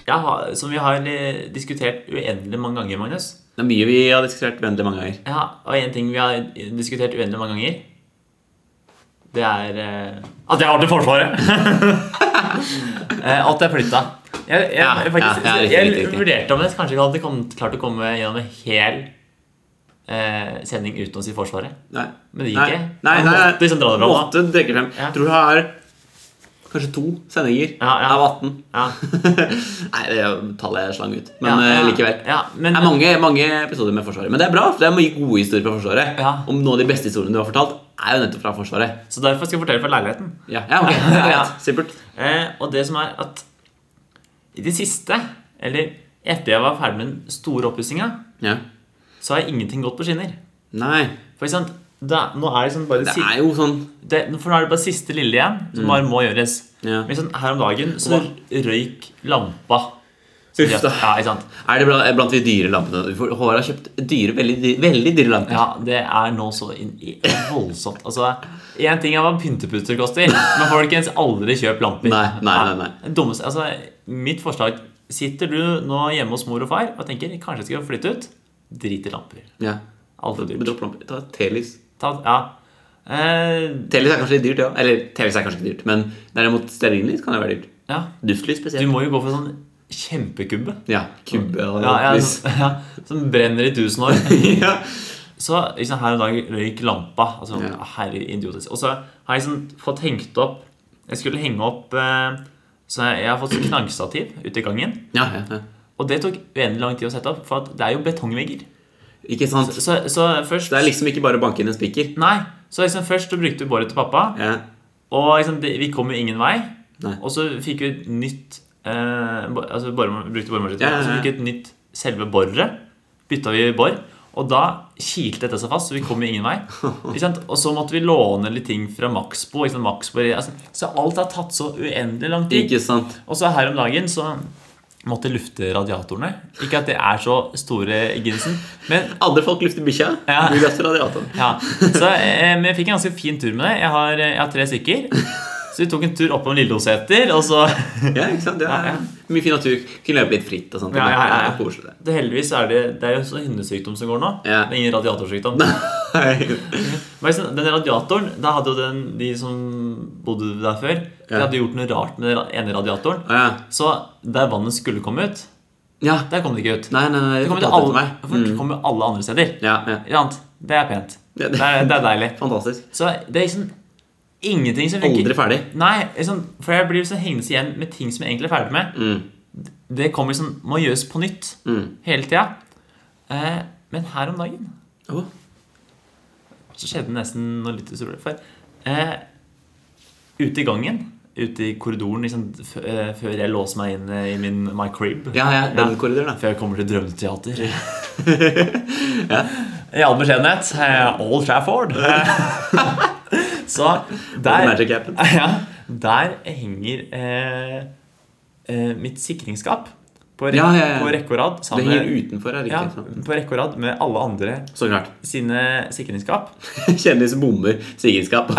Jeg har, som vi har eh, diskutert uendelig mange ganger, Magnus. Det er mye vi har diskutert uendelig mange ganger. Ja, og en ting vi har diskutert uendelig mange ganger, det er eh, at jeg har vært i Forsvaret! Eh, at jeg flytta. Jeg, jeg, Ja, jeg, faktisk, ja, ja, riktig, jeg riktig, riktig. vurderte om jeg kanskje ikke hadde kommet, klart å komme gjennom en hel eh, sending uten å si Forsvaret. Nei. Men det gikk Nei, ikke. nei, Jeg nei, nei. måtte liksom dra det fram, da. Måtte trekke frem. Ja. Tror du jeg har kanskje to sendinger Ja, ja. av 18. Ja. Nei, det er jo tallet jeg slang ut. Men Ja, eh, ja, likevel. ja, men- det er mange, mange episoder med Forsvaret. Men det er bra, for det er mye gode historier fra Forsvaret. Ja. Om noen av de beste historiene du har fortalt, er jo nettopp fra Forsvaret. Så derfor skal jeg fortelle fra leiligheten. Ja, ja ok. Det er Ja. greit. Supert. Eh, og det som er at i det siste, eller etter jeg var ferdig med den store oppussinga, Ja. så har ingenting gått på skinner. Nei, For ikke sant, da, nå er det liksom bare det si- er jo sånn det, For nå er det bare siste lille igjen som bare må gjøres. Ja. Men sånn, her om dagen så røyk lampa. Uff da. Ja, ikke sant? Er det blant, blant de dyre lampene? For Håvard har kjøpt dyre, veldig, dyre, veldig dyre lamper. Ja, det er nå så inn i voldsomt. Altså, Én ting er hva pynteputer koster, men folkens, aldri kjøp lamper. Nei, nei, nei, nei. Det Dummeste, altså, mitt forslag Sitter du nå hjemme hos mor og far og tenker kanskje jeg skal flytte ut? Drit i lamper. Ja. Altfor dyrt. Dropp lamper. Ta telys. Ta, ja. Eh, Telys er kanskje litt dyrt, ja. Eller telys er kanskje ikke dyrt, men derimot stearinlys kan jo være dyrt. ja. Duftlys Du spesielt. må jo gå for sånn kjempekubbe. Ja, kubbe og Ja, ja, lys. som, ja, som brenner i tusen år. ja. Så liksom, her en dag røyk lampa. Altså, Ja. herre idiotisk. Og så har jeg liksom fått hengt opp Jeg skulle henge opp eh, Så jeg, jeg har fått knagstativ ute i gangen. Ja, ja, ja. Og det tok uendelig lang tid å sette opp, for at det er jo betongvegger. Ikke sant? Så, så først Det er liksom ikke bare å banke inn en spiker. Nei. Så liksom først så brukte vi båret til pappa, Ja. og liksom, det, vi kom jo ingen vei. Nei. Og så fikk vi et nytt eh, bo- Altså bore, brukte boremaskin, Ja, ja, ja. og så fikk vi et nytt selve boret. Bytta vi bor. Og da kilte dette seg fast, så vi kom jo ingen vei. Ikke sant? Og så måtte vi låne litt ting fra Maxbo. Ikke sant? Maxbo altså, så alt har tatt så uendelig lang tid. Ikke sant? Og så her om dagen så måtte jeg lufte radiatorene. Ikke at det er så store ginsen, men Andre folk lufter bikkja. Ja. Du løfter radiatoren. ja. Så, eh, men jeg fikk en ganske fin tur med det. Jeg har, eh, jeg har tre stykker. Så vi tok en tur oppom Lilleoseter, og så Ja, ikke sant? Det er Ja, ja. Mye fin natur. Kunne løpe litt fritt og sånt. Ja, ja, ja, ja. Det er koselig. det, Heldigvis er det, det er jo så hundesykdom som går nå. Ja. Det er ingen radiatorsykdom. Men liksom, den radiatoren, da hadde jo den, de som bodde der før, de Ja. hadde gjort noe rart med den ra- ene radiatoren. Å, ja. Så der vannet skulle komme ut, ja. der kom det ikke ut. Nei, nei, nei. det kom, ut fortalte alle, det til Mm. for det kom jo alle andre steder. Ja, ja. Ikke sant? Det er pent. Ja, det, det- er, det er deilig. Fantastisk. Så det er liksom ingenting som funker. Aldri ferdig. Nei, liksom, for jeg blir liksom hengende igjen med ting som jeg egentlig er ferdig med. Det kommer liksom, må gjøres på nytt Mm. hele tida. Eh, men her om dagen Å, så skjedde det nesten noe litt utrolig. For eh, ute i gangen, ute i korridoren, liksom, f- eh, før jeg låser meg inn eh, i min my crib Ja, ja. Den Ja. korridoren, da. Før jeg kommer til drømmeteater. I all beskjedenhet eh, Old Trafford. Så der Magic Appen. ja, Der henger eh, eh, mitt sikringsskap på, rek Ja, ja, ja. på rekke og rad. Det sammen henger med- utenfor her, ja, riktig. sant? på rekke og rad med alle andre Så klart. sine sikringsskap. Kjendis bommer sikringsskap.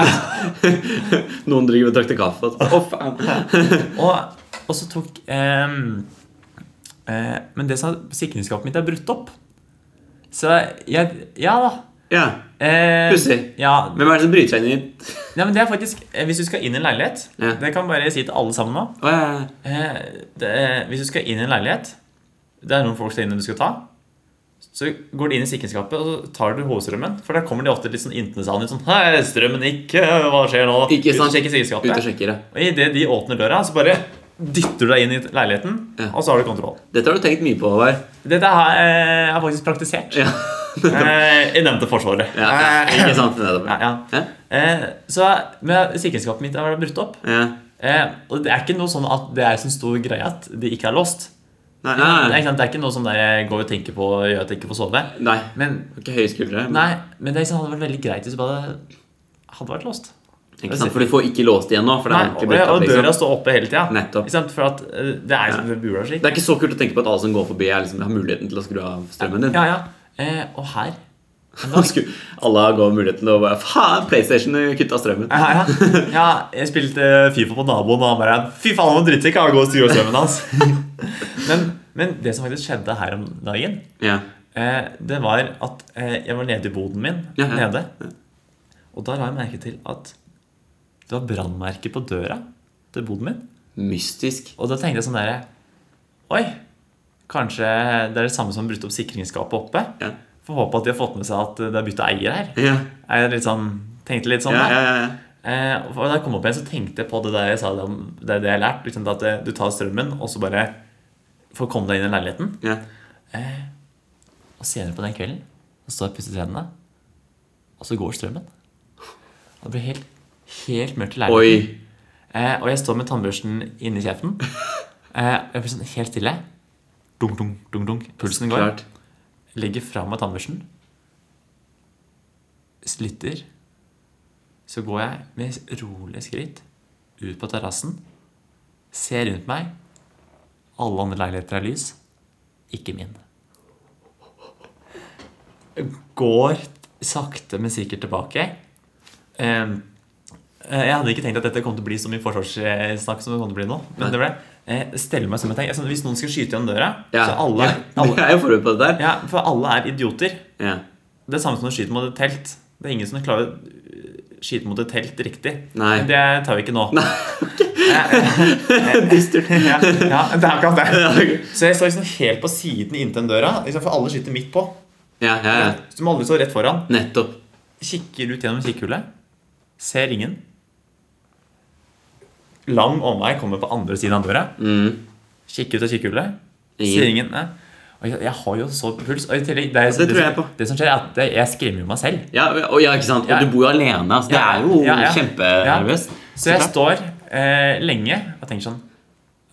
Noen driver og trakter kaffe. altså. og- Å, faen. Og, og så tok ehm, eh, Men det sa sikringsskapet mitt er brutt opp. Så jeg Ja da. Ja. Eh, Pussig. Ja, Hvem er det som bryter seg inn i nei, men det er faktisk eh, Hvis du skal inn i en leilighet Ja. Det kan bare si til alle sammen nå. Å, ja, ja. Eh, det, hvis du skal inn i en leilighet Det er noen folk skal inn du skal ta. Så går de inn i sikringsskapet og så tar du hovedstrømmen. For der kommer de ofte litt sånn intensende ut sånn Hei, strømmen gikk. Hva skjer nå? Ikke sant? Ut og Ut sjekke og sikringsskapet. sjekker, ja. Og idet de åpner døra, så bare dytter du deg inn i leiligheten, Ja. og så har du kontroll. Dette har du tenkt mye på, Håvard. Dette har jeg eh, faktisk praktisert Ja. eh, i nevnte Forsvaret. Ja, ja. Eh, Ikke sant? Nettopp. Ja, ja. Ja. Eh, så men sikringsskapet mitt har vært brutt opp. Ja. Eh, og det er ikke noe sånn at det er så stor greie at de ikke er lost. Nei, Det er, nei, ikke sant, det er ikke noe som der jeg går og tenker på og gjør at jeg ikke får sove. nei. nei. Men, Ikke høye skuldre. men- nei, men det er ikke sant, hadde vært veldig greit hvis jeg bare hadde vært lost. Ikke sant? For du får ikke låst igjen nå. For det Nei, er og, ordentlig blitt opp, og døra liksom. står oppe hele tida. Nettopp. Ikke sant, For at eh, det er jo som ved bula slik. Det er ikke så kult å tenke på at alle som går forbi, er liksom, har muligheten til å skru av strømmen din. Ja, ja. Eh, og her Og skru- Alle går muligheten til å bare Faen, PlayStation kutta strømmen. Ja, ja. ja, jeg spilte eh, Fifa på naboen, og han bare Fy faen, han var drittsekk! Han går og styrer strømmen hans. men, men det som faktisk skjedde her om dagen, Ja. eh, det var at eh, jeg var nede i boden min. Ja, ja. Nede. Og da la jeg merke til at det var brannmerker på døra til boden min. Mystisk. Og da tenkte jeg sånn derre Oi! Kanskje det er det samme som har brutt opp sikringsskapet oppe? Ja. Får håpe at de har fått med seg at det er bytta eier her. Ja. Jeg litt sånn, tenkte litt Ja, sånn. ja, da. ja, ja. Eh, og da jeg kom opp igjen, så tenkte jeg på det der jeg sa det om det, er det jeg har lært. Liksom, at eh, du tar strømmen, og så bare får komme deg inn i leiligheten. ja. Og senere på den kvelden så står jeg og pusser tennene, og så går strømmen. Og det blir helt, helt mørkt i leiligheten. Oi. Eh, og jeg står med tannbørsten inni kjeften. Eh, og jeg blir sånn helt stille. Dunk, dunk, dunk, dunk. Pulsen går. Klart. Legger fra meg tannbørsten. Slutter. Så går jeg med rolige skritt ut på terrassen. Ser rundt meg. Alle andre leiligheter er lys. Ikke min. Går sakte, men sikkert tilbake. Eh, eh, Jeg hadde ikke tenkt at dette kom til å bli så mye forsvarssnakk som det kom til å bli nå. Men det ble eh, Stelle meg som jeg tenker. Altså, Hvis noen skal skyte gjennom døra, Ja. så alle, Ja. alle Jeg er jo forberedt på det der. ja, for alle er idioter. Ja. Det er samme som å skyte mot et telt. Det er ingen som klarer å øh, skyte mot et telt riktig. Nei. Det tar vi ikke nå. Dystert. Ja, ja, det er akkurat Ja, det. ok. Så jeg står liksom helt på siden inntil den døra, liksom for alle skyter midt på. Ja, ja, ja. Så du må aldri stå rett foran. Nettopp. Kikker ut gjennom kikkhullet. Ser ingen. Lang omvei kommer på andre siden av døra. Mm. Kikker ut av kikkhullet. Ingen. Ser ingen. Nei. Og jeg, jeg har jo så puls. Og i tillegg, det, er- det tror jeg som- på. det som skjer, er at jeg- jeg skremmer jo meg selv. Ja, og, ja, ikke sant? Og Ja. du bor jo alene. Altså. Det Ja. er jo Ja, ja. kjempenervøst. Så jeg klart. står eh, lenge og tenker sånn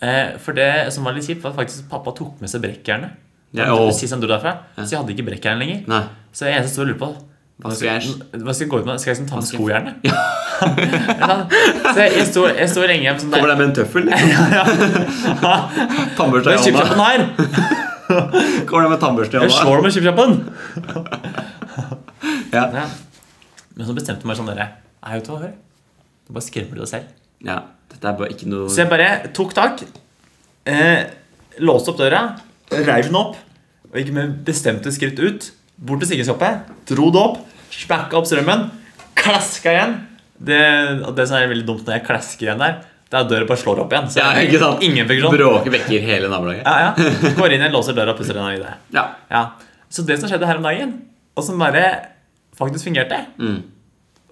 eh, For det som var litt kjipt, var at faktisk pappa tok med seg brekkjernet. Ja, og- Sist han dro derfra. Så jeg hadde ikke brekkjern lenger. Nei. Så jeg eneste som lurer på Hva skal jeg hva skal jeg gå ut med? Skal jeg liksom ta med skal jeg- skojernet? så jeg, jeg, står, jeg står lenge sånn Kommer der. deg med en tøffel? liksom? Tannbørste Med i hånda. chipsjappen her! Kommer deg med tannbørste i Jeg hånda. slår med chipsjappen! Ja. Ja. Men så bestemte jeg meg sånn dere Nei, vet du hva, hør. Du bare skremmer deg selv. Ja, dette er bare ikke noe Så jeg bare tok tak, eh, låste opp døra, reiv den opp, og gikk med bestemte skritt ut, bort til sikkerhetskjøpet, dro det opp, smakka opp strømmen, klaska igjen. Det, og det som er veldig dumt når jeg klasker igjen der, det er at døra bare slår opp igjen. Så Ja, ikke sant? ingen funksjon. Bråker vekker hele nabolaget. Ja, ja. Går inn igjen, låser døra og pusser den av i det. Ja. Ja. Så det som skjedde her om dagen, og som bare faktisk fungerte, Mm.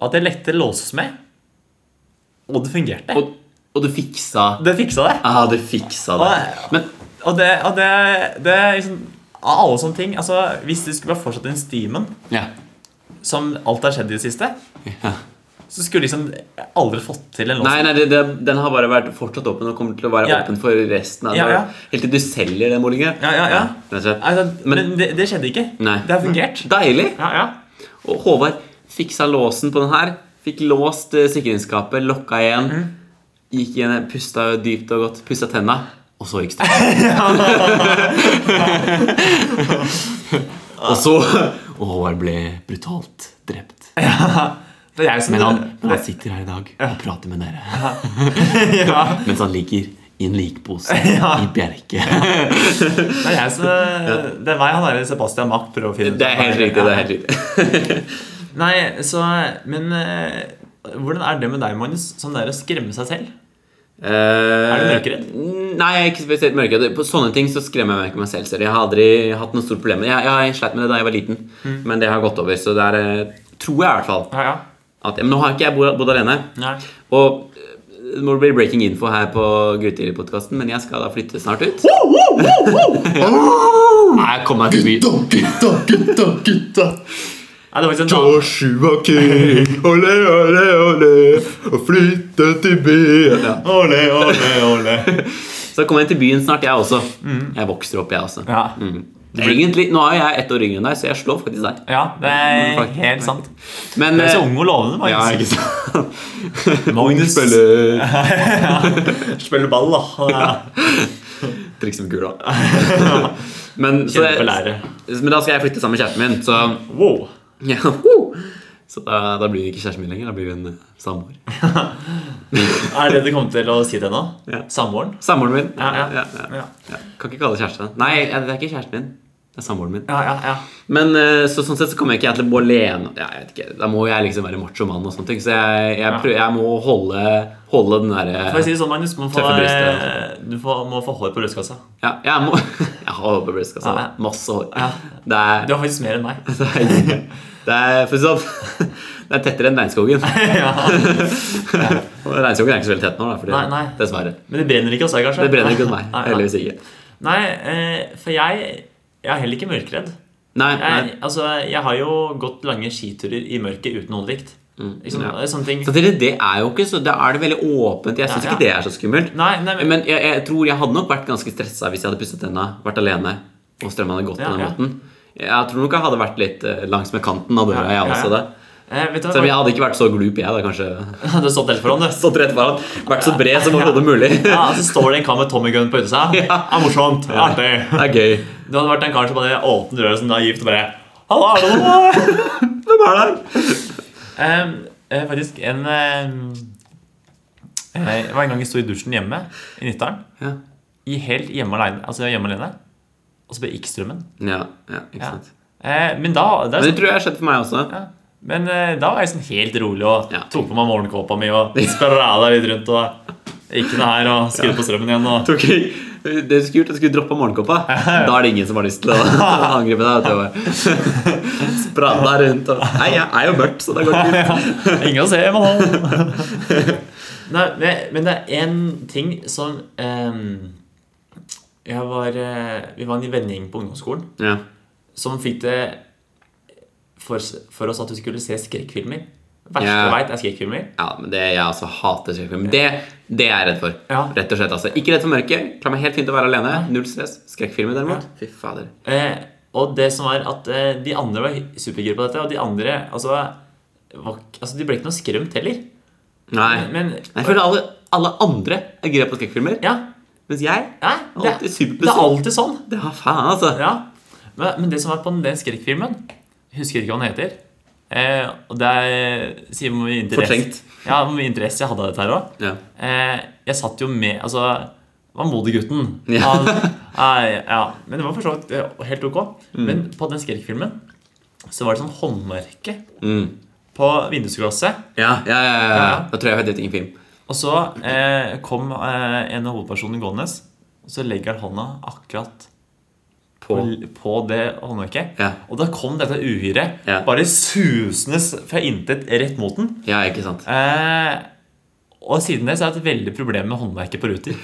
at jeg lette låssmed, og det fungerte. Og, og du fiksa Det fiksa det. Ah, du fiksa det. Og- Men Og det, og det, det er liksom Av alle sånne ting altså, Hvis du skulle bare fortsatt den stimen ja. som alt har skjedd i det siste, ja. så skulle du liksom aldri fått til en Nei, lås. nei det, det, den har bare vært fortsatt åpen og kommer til å være Ja. åpen for resten. av Ja, ja. Helt til du selger den boligen. Ja, ja, ja. rett og slett. Altså, men Men- det, det skjedde ikke. Nei. Det har fungert. Deilig! Ja, ja. Og Håvard fiksa låsen på den her. Fikk låst eh, sikringsskapet, lokka igjen. Mhm. Gikk igjen, pusta dypt og godt, pussa tenna, og så gikk strømmen. og så Og Håvard ble brutalt drept. Det er jeg som Men han, men han sitter her i dag og prater med dere. ja. Mens han ligger i en likpose Ja. i bjerke. Det er jeg som Det er meg han der Sebastian Mack prøver å finne ut Det er helt av. riktig. det er helt riktig Nei, så Men eh, hvordan er det med deg, Magnus? Sånn der å skremme seg selv? Er du mørkeredd? Eh, Nei, jeg er ikke spesielt mørkeredd. På sånne ting så skremmer jeg meg ikke meg selv. selv. Jeg har aldri hatt noe stort problem med det. Jeg, jeg sleit med det da jeg var liten, Mm. men det har gått over. Så det er, eh, tror jeg i hvert fall Ja, ja. at, Men nå har ikke jeg bodd, bodd alene. Nei. Og eh, det må bli breaking info her på Grytidlig-podkasten, men jeg skal da flytte snart ut. Ah! Nei, kom meg til by. Gutta, gutta, gutta, gutta. Nei, det var ikke sånn- en dame. Joshua King, ole, ole, ole, og flytte til byen. Ja. Ole, ole, ole. Så kommer jeg til byen snart, jeg også. Jeg vokser opp, jeg også. Mm. Ja. Egentlig, nå er jo jeg ett år yngre enn deg, så jeg slår faktisk deg. ja, det er helt sant. Men Du er så eh, ung og lovende, ja, ikke Magnus. sant? Magnus Eller spiller ball, da. Trikse med kula. Men, så, Kjempe lære. men da skal jeg flytte sammen med kjæresten min, så Wow. ja, woo! Så da, da blir vi ikke kjæresten min lenger, da blir vi en eh, samboer. Er det det du kom til å si til henne? Ja. Samboeren? Samboeren min. Ja, ja. Ja, ja, Ja, ja. Kan ikke kalle det kjæreste. Nei, ja, det er ikke kjæresten min. Det er samboeren min. ja, ja. ja. Men eh, så, sånn sett så kommer jeg ikke jeg til å bo alene. Ja, Jeg vet ikke, da må jeg liksom være macho mann og sånne ting. Så jeg, jeg, prøver, jeg må holde, holde den eh, Får derre jeg si det sånn, Magnus? Man får, Tøffe bryster. eh, du får, må få hår på brystkassa. ja, Jeg må Jeg har hår på brystkassa. Ja, ja. Masse hår. Ja. Det er, Du har faktisk mer enn meg. det er, det er For å si det sånn Det er tettere enn regnskogen. Og regnskogen er ikke så veldig tett nå, da, fordi, Nei, nei. dessverre. Men det brenner ikke hos deg, kanskje? Det brenner ikke hos meg. Nei, nei. Heldigvis ikke. Nei, eh, for jeg, jeg er heller ikke mørkredd. Nei, nei. Jeg, altså, jeg har jo gått lange skiturer i mørket uten hodelykt. Liksom, Mm. ja. eh, sånne ting. Samtidig, det er jo ikke så Da er det veldig åpent. Jeg syns Ja, ja. ikke det er så skummelt. Nei, nei, men, Men jeg, jeg tror jeg hadde nok vært ganske stressa hvis jeg hadde pusset tenna, vært alene og strømmen hadde gått Ja, på den ja. måten. Jeg tror nok jeg hadde vært litt eh, langs med kanten av døra, Ja, ja, jeg også. ja. det eh, vet Selv du om hva? jeg hadde ikke vært så glup, jeg, da kanskje. Det stått helt foran, det. Stått rett foran. Vært så bred som overhodet mulig. Ja, så står det en kar med Tommy Gun på utsida. Ja, morsomt. Artig. Det er gøy. Du hadde vært en kar som bare åpnet døra som naivt og bare Hallo, er det noe? Hvem er det? Em, eh, faktisk en em, eh, Jeg var en gang jeg sto i dusjen hjemme i Nittaren. Ja. I helt hjemme alene. Altså jeg var hjemme alene. Og så ble ikke strømmen. Ja, ja, ikke Ja. sant. Eh, men da det er Men det sånn, tror jeg har skjedd for meg også. ja. Men eh, da var jeg sånn helt rolig og Ja. tok på meg morgenkåpa mi og sprada litt rundt og ikke noe her og skrudde på strømmen igjen og Tok jeg, det du skulle gjort, du skulle droppa morgenkåpa. Da er det ingen som har lyst til å angripe deg. vet du. Bare Sprada rundt og Nei, jeg er jo mørkt, så det går fint. Ingen å se, man Nei, men- men det er én ting som em, Jeg var eh, Vi var en vennegjeng på ungdomsskolen Ja. som fikk det for, for oss at vi skulle se skrekkfilmer. Verste Ja. jeg veit, er skrekkfilmer. Ja, men det jeg også hater skrekkfilm. Det, det er jeg redd for. Ja. Rett og slett, altså. Ikke redd for mørket. Klarer meg helt fint å være alene. Null stress. Skrekkfilmer, derimot. Fy fader. Eh, og det som er at eh, de andre var supergira på dette, og de andre altså, var, ikke- altså, De ble ikke noe skremt heller. Nei. Men Jeg føler alle, alle andre er gira på skrekkfilmer, ja, mens jeg nei, det, Alltid superbesøk. det er alltid sånn. Det har faen, altså. Ja. Men, men det som er på den skrekkfilmen Jeg husker ikke hva den heter. Eh, og det er, sier hvor mye interesse Fortrengt. Ja, hvor mye interesse jeg hadde av dette her òg. Ja. Eh, jeg satt jo med Altså, det var Modergutten. Ja. Han, eh, ja. Men det var for så vidt eh, helt ok. Mm. Men på den skrekkfilmen så var det sånn håndmerke Mm. på vindusglasset. Ja, ja, ja, ja, ja. Ja. Da tror jeg jeg vet hvilken film. Og så eh, kom eh, en av hovedpersonene gående, og så legger han hånda akkurat på, på det håndverket. Ja. Og da kom dette uhyret Ja. bare susende fra intet rett mot den. Ja, ikke sant. Eh, og siden det så har jeg hatt veldig problem med håndverket på ruter.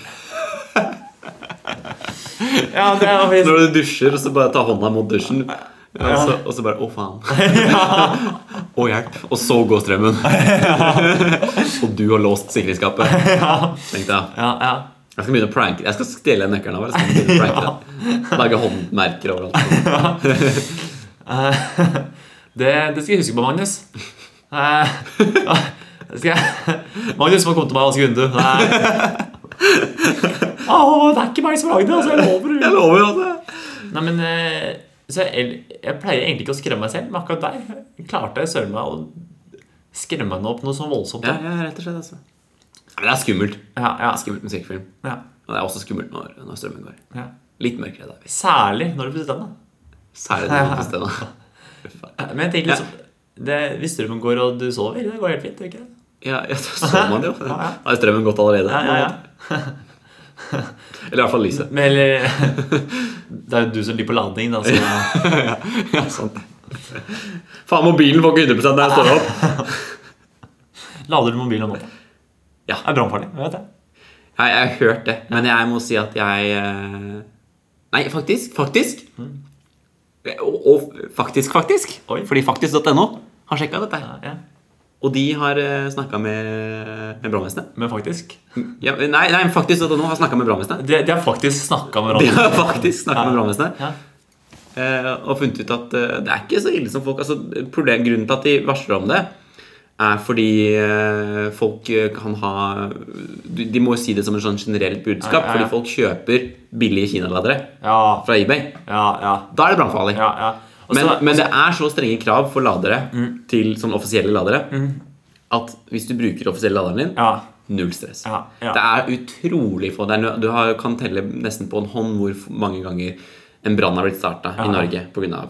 ja, det er faktisk Når du dusjer, og så bare ta hånda mot dusjen. Og så, og så bare Å, faen. Å, hjelp. Og så går strømmen. og du har låst sikringsskapet. Tenk deg. ja, ja. Jeg skal begynne å pranke Jeg skal stjele nøkkelen av deg. så skal jeg begynne å pranke deg. Lage håndmerker overalt. Det, Eh, det skal jeg huske på, Magnus. Eh, det skal jeg. Magnus må komme til meg og vaske vinduet. Nei. Åh, det er ikke meg som lagde det, altså. Jeg lover. Jeg lover altså. Nei, men eh, så jeg, jeg pleier egentlig ikke å skremme meg selv, men akkurat der klarte jeg søren meg å skremme henne opp noe så voldsomt. Ja, ja, rett og slett, altså. Ja, Men det er skummelt. Det Ja, ja, er skummelt musikkfilm. ja, Og det er også skummelt når, når strømmen går. ja. Litt mørkere da. Særlig når du pusser tennene. Særlig når man puster da. Men jeg tenker liksom det, Hvis strømmen går og du sover, det går helt fint. gjør ikke det? Ja, ja, så så man det jo. Ja, ja. Da er strømmen gått allerede. Ja, ja, ja. Eller i hvert fall lyset. Men eller Det er jo du som ligger på lading, da. Så, Ja, sant. Sånn. Faen, mobilen får ikke 100 når jeg står opp. lader du mobilen om natta? Ja. Det er brannfarlig. jeg Vet det. Nei, jeg har hørt det, men jeg må si at jeg eh, Nei, faktisk. Faktisk. og, og faktisk, faktisk, Mm. Oi. fordi faktisk.no har sjekka dette. her. Ja. Og de har snakka med, med brannvesenet. Men faktisk Ja, nei, nei, faktisk.no har snakka med brannvesenet. De, de har faktisk snakka med De hverandre. har faktisk snakket med brannvesenet Ja. eh, og funnet ut at eh, det er ikke så ille som folk altså, problem, Grunnen til at de varsler om det, er fordi eh, folk eh, kan ha du- De må jo si det som en sånn generelt budskap, Ja, ja, ja. fordi folk kjøper billige kinaladere Ja, fra eBay. ja, ja. Da er det brannfarlig. ja, ja. Og Men, så- altså- Mm. men det er så strenge krav for ladere til sånn offisielle ladere at hvis du bruker offisielle laderen din, ja, null stress. ja, ja. Det er utrolig få. Det er, nø- du har, kan telle nesten på en hånd hvor f- mange ganger en brann har blitt starta Ja. i Norge pga.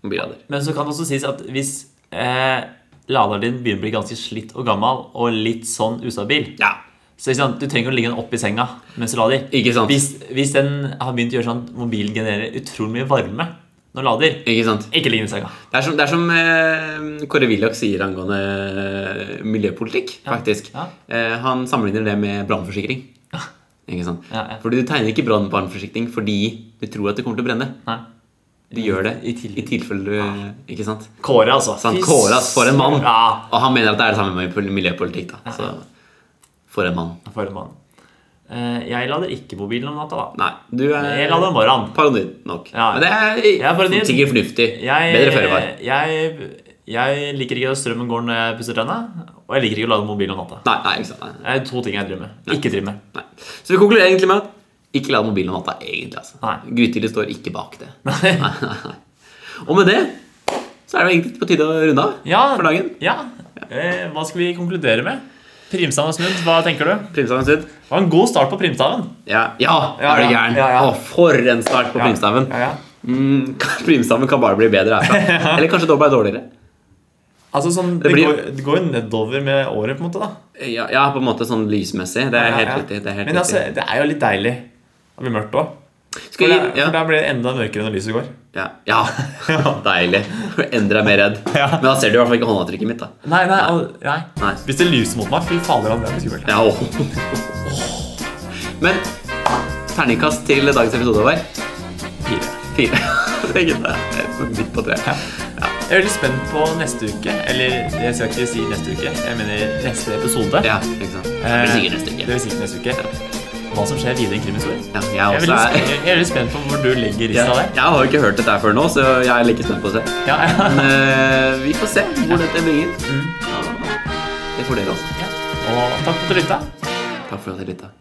mobillader. Men så kan det også sies at hvis eh, laderen din begynner å bli ganske slitt og gammel og litt sånn ustabil Ja. Så ikke sant, Du trenger å ligge den opp i senga mens du lader. Ikke sant? Hvis, hvis den har begynt å gjøre sånn at mobilen genererer utrolig mye varme når den lader, Ikke sant? ikke ligg den i senga. Det er som, det er som eh, Kåre Willoch sier angående eh, miljøpolitikk, faktisk. ja. Eh, han sammenligner det med brannforsikring. Ikke sant? Ja, ja. Fordi du tegner ikke brann- brannforsikring fordi du tror at det kommer til å brenne. Nei. Du gjør det I Ah. tillegg. i tilfelle du Ikke sant? Kåre, altså. Så han Fy Kåre, ass, for en mann. Ja, Og han mener at det er det samme med pol- miljøpolitikk. da Så For en mann. for en mann. Eh, jeg lader ikke mobilen om natta, da. Nei, du Jeg er lader om morgenen. paranoid nok. Ja. Men det er, er paranoid. sikkert fornuftig. Jeg, Bedre føre var. Jeg, jeg liker ikke at strømmen går når jeg pusser tenna, og jeg liker ikke å lade mobilen om natta. Nei, nei, ikke sant. Nei, Det er to ting jeg driver med. Ikke driver med. nei. Så vi konkluderer egentlig med at ikke la mobilen om natta, egentlig. altså Nei. Grytidlig står ikke bak det. Nei, nei, nei. Og med det så er det egentlig på tide å runde av Ja, for dagen. Ja. Eh, hva skal vi konkludere med? Primstaven er snudd. Hva tenker du? Primstaven sin. Det var en god start på primstaven. Ja, ja, Ja, er du ja, gæren? ja, ja. Å, for en start på primstaven. Ja, ja. Mm, primstaven kan bare bli bedre herfra. Eller kanskje da ble dårligere. Altså sånn, det, blir- går, det går jo nedover med året, på en måte. da Ja, ja, på en måte sånn lysmessig. Det er Ja, helt ja. riktig. Det er helt Men altså, riktig. det er jo litt deilig å bli mørkt òg. For, Skal vi, det- ja. for da blir det enda mørkere når lyset går. Ja. ja. Deilig. Endre er mer redd. Ja. Men da ser du i hvert fall ikke håndavtrykket mitt. da Nei, nei, al- nei. Nei. Hvis det lyser mot meg, fy fader, det er jo skummelt. Ja, åh. Men terningkast til dagens episode over. Fire. Fire. Det er ikke det. Det er Midt på treet. Jeg er veldig spent på neste uke. Eller jeg skal ikke si neste uke, jeg mener neste episode. Ja, ikke sant. Det Eh, blir sikkert neste Det uke. blir sikkert neste uke. Hva som skjer videre i krimhistorien. Ja, Jeg er jeg også veldig er sp- jeg er veldig spent på hvor du legger ja, rista der. Jeg har jo ikke hørt dette her før nå, så jeg er like spent på å se. Ja, ja. Men eh, vi får se hvor dette Mm. bringer. Ja, det får dere også. Og takk for at du lytta. Takk for at dere lytta.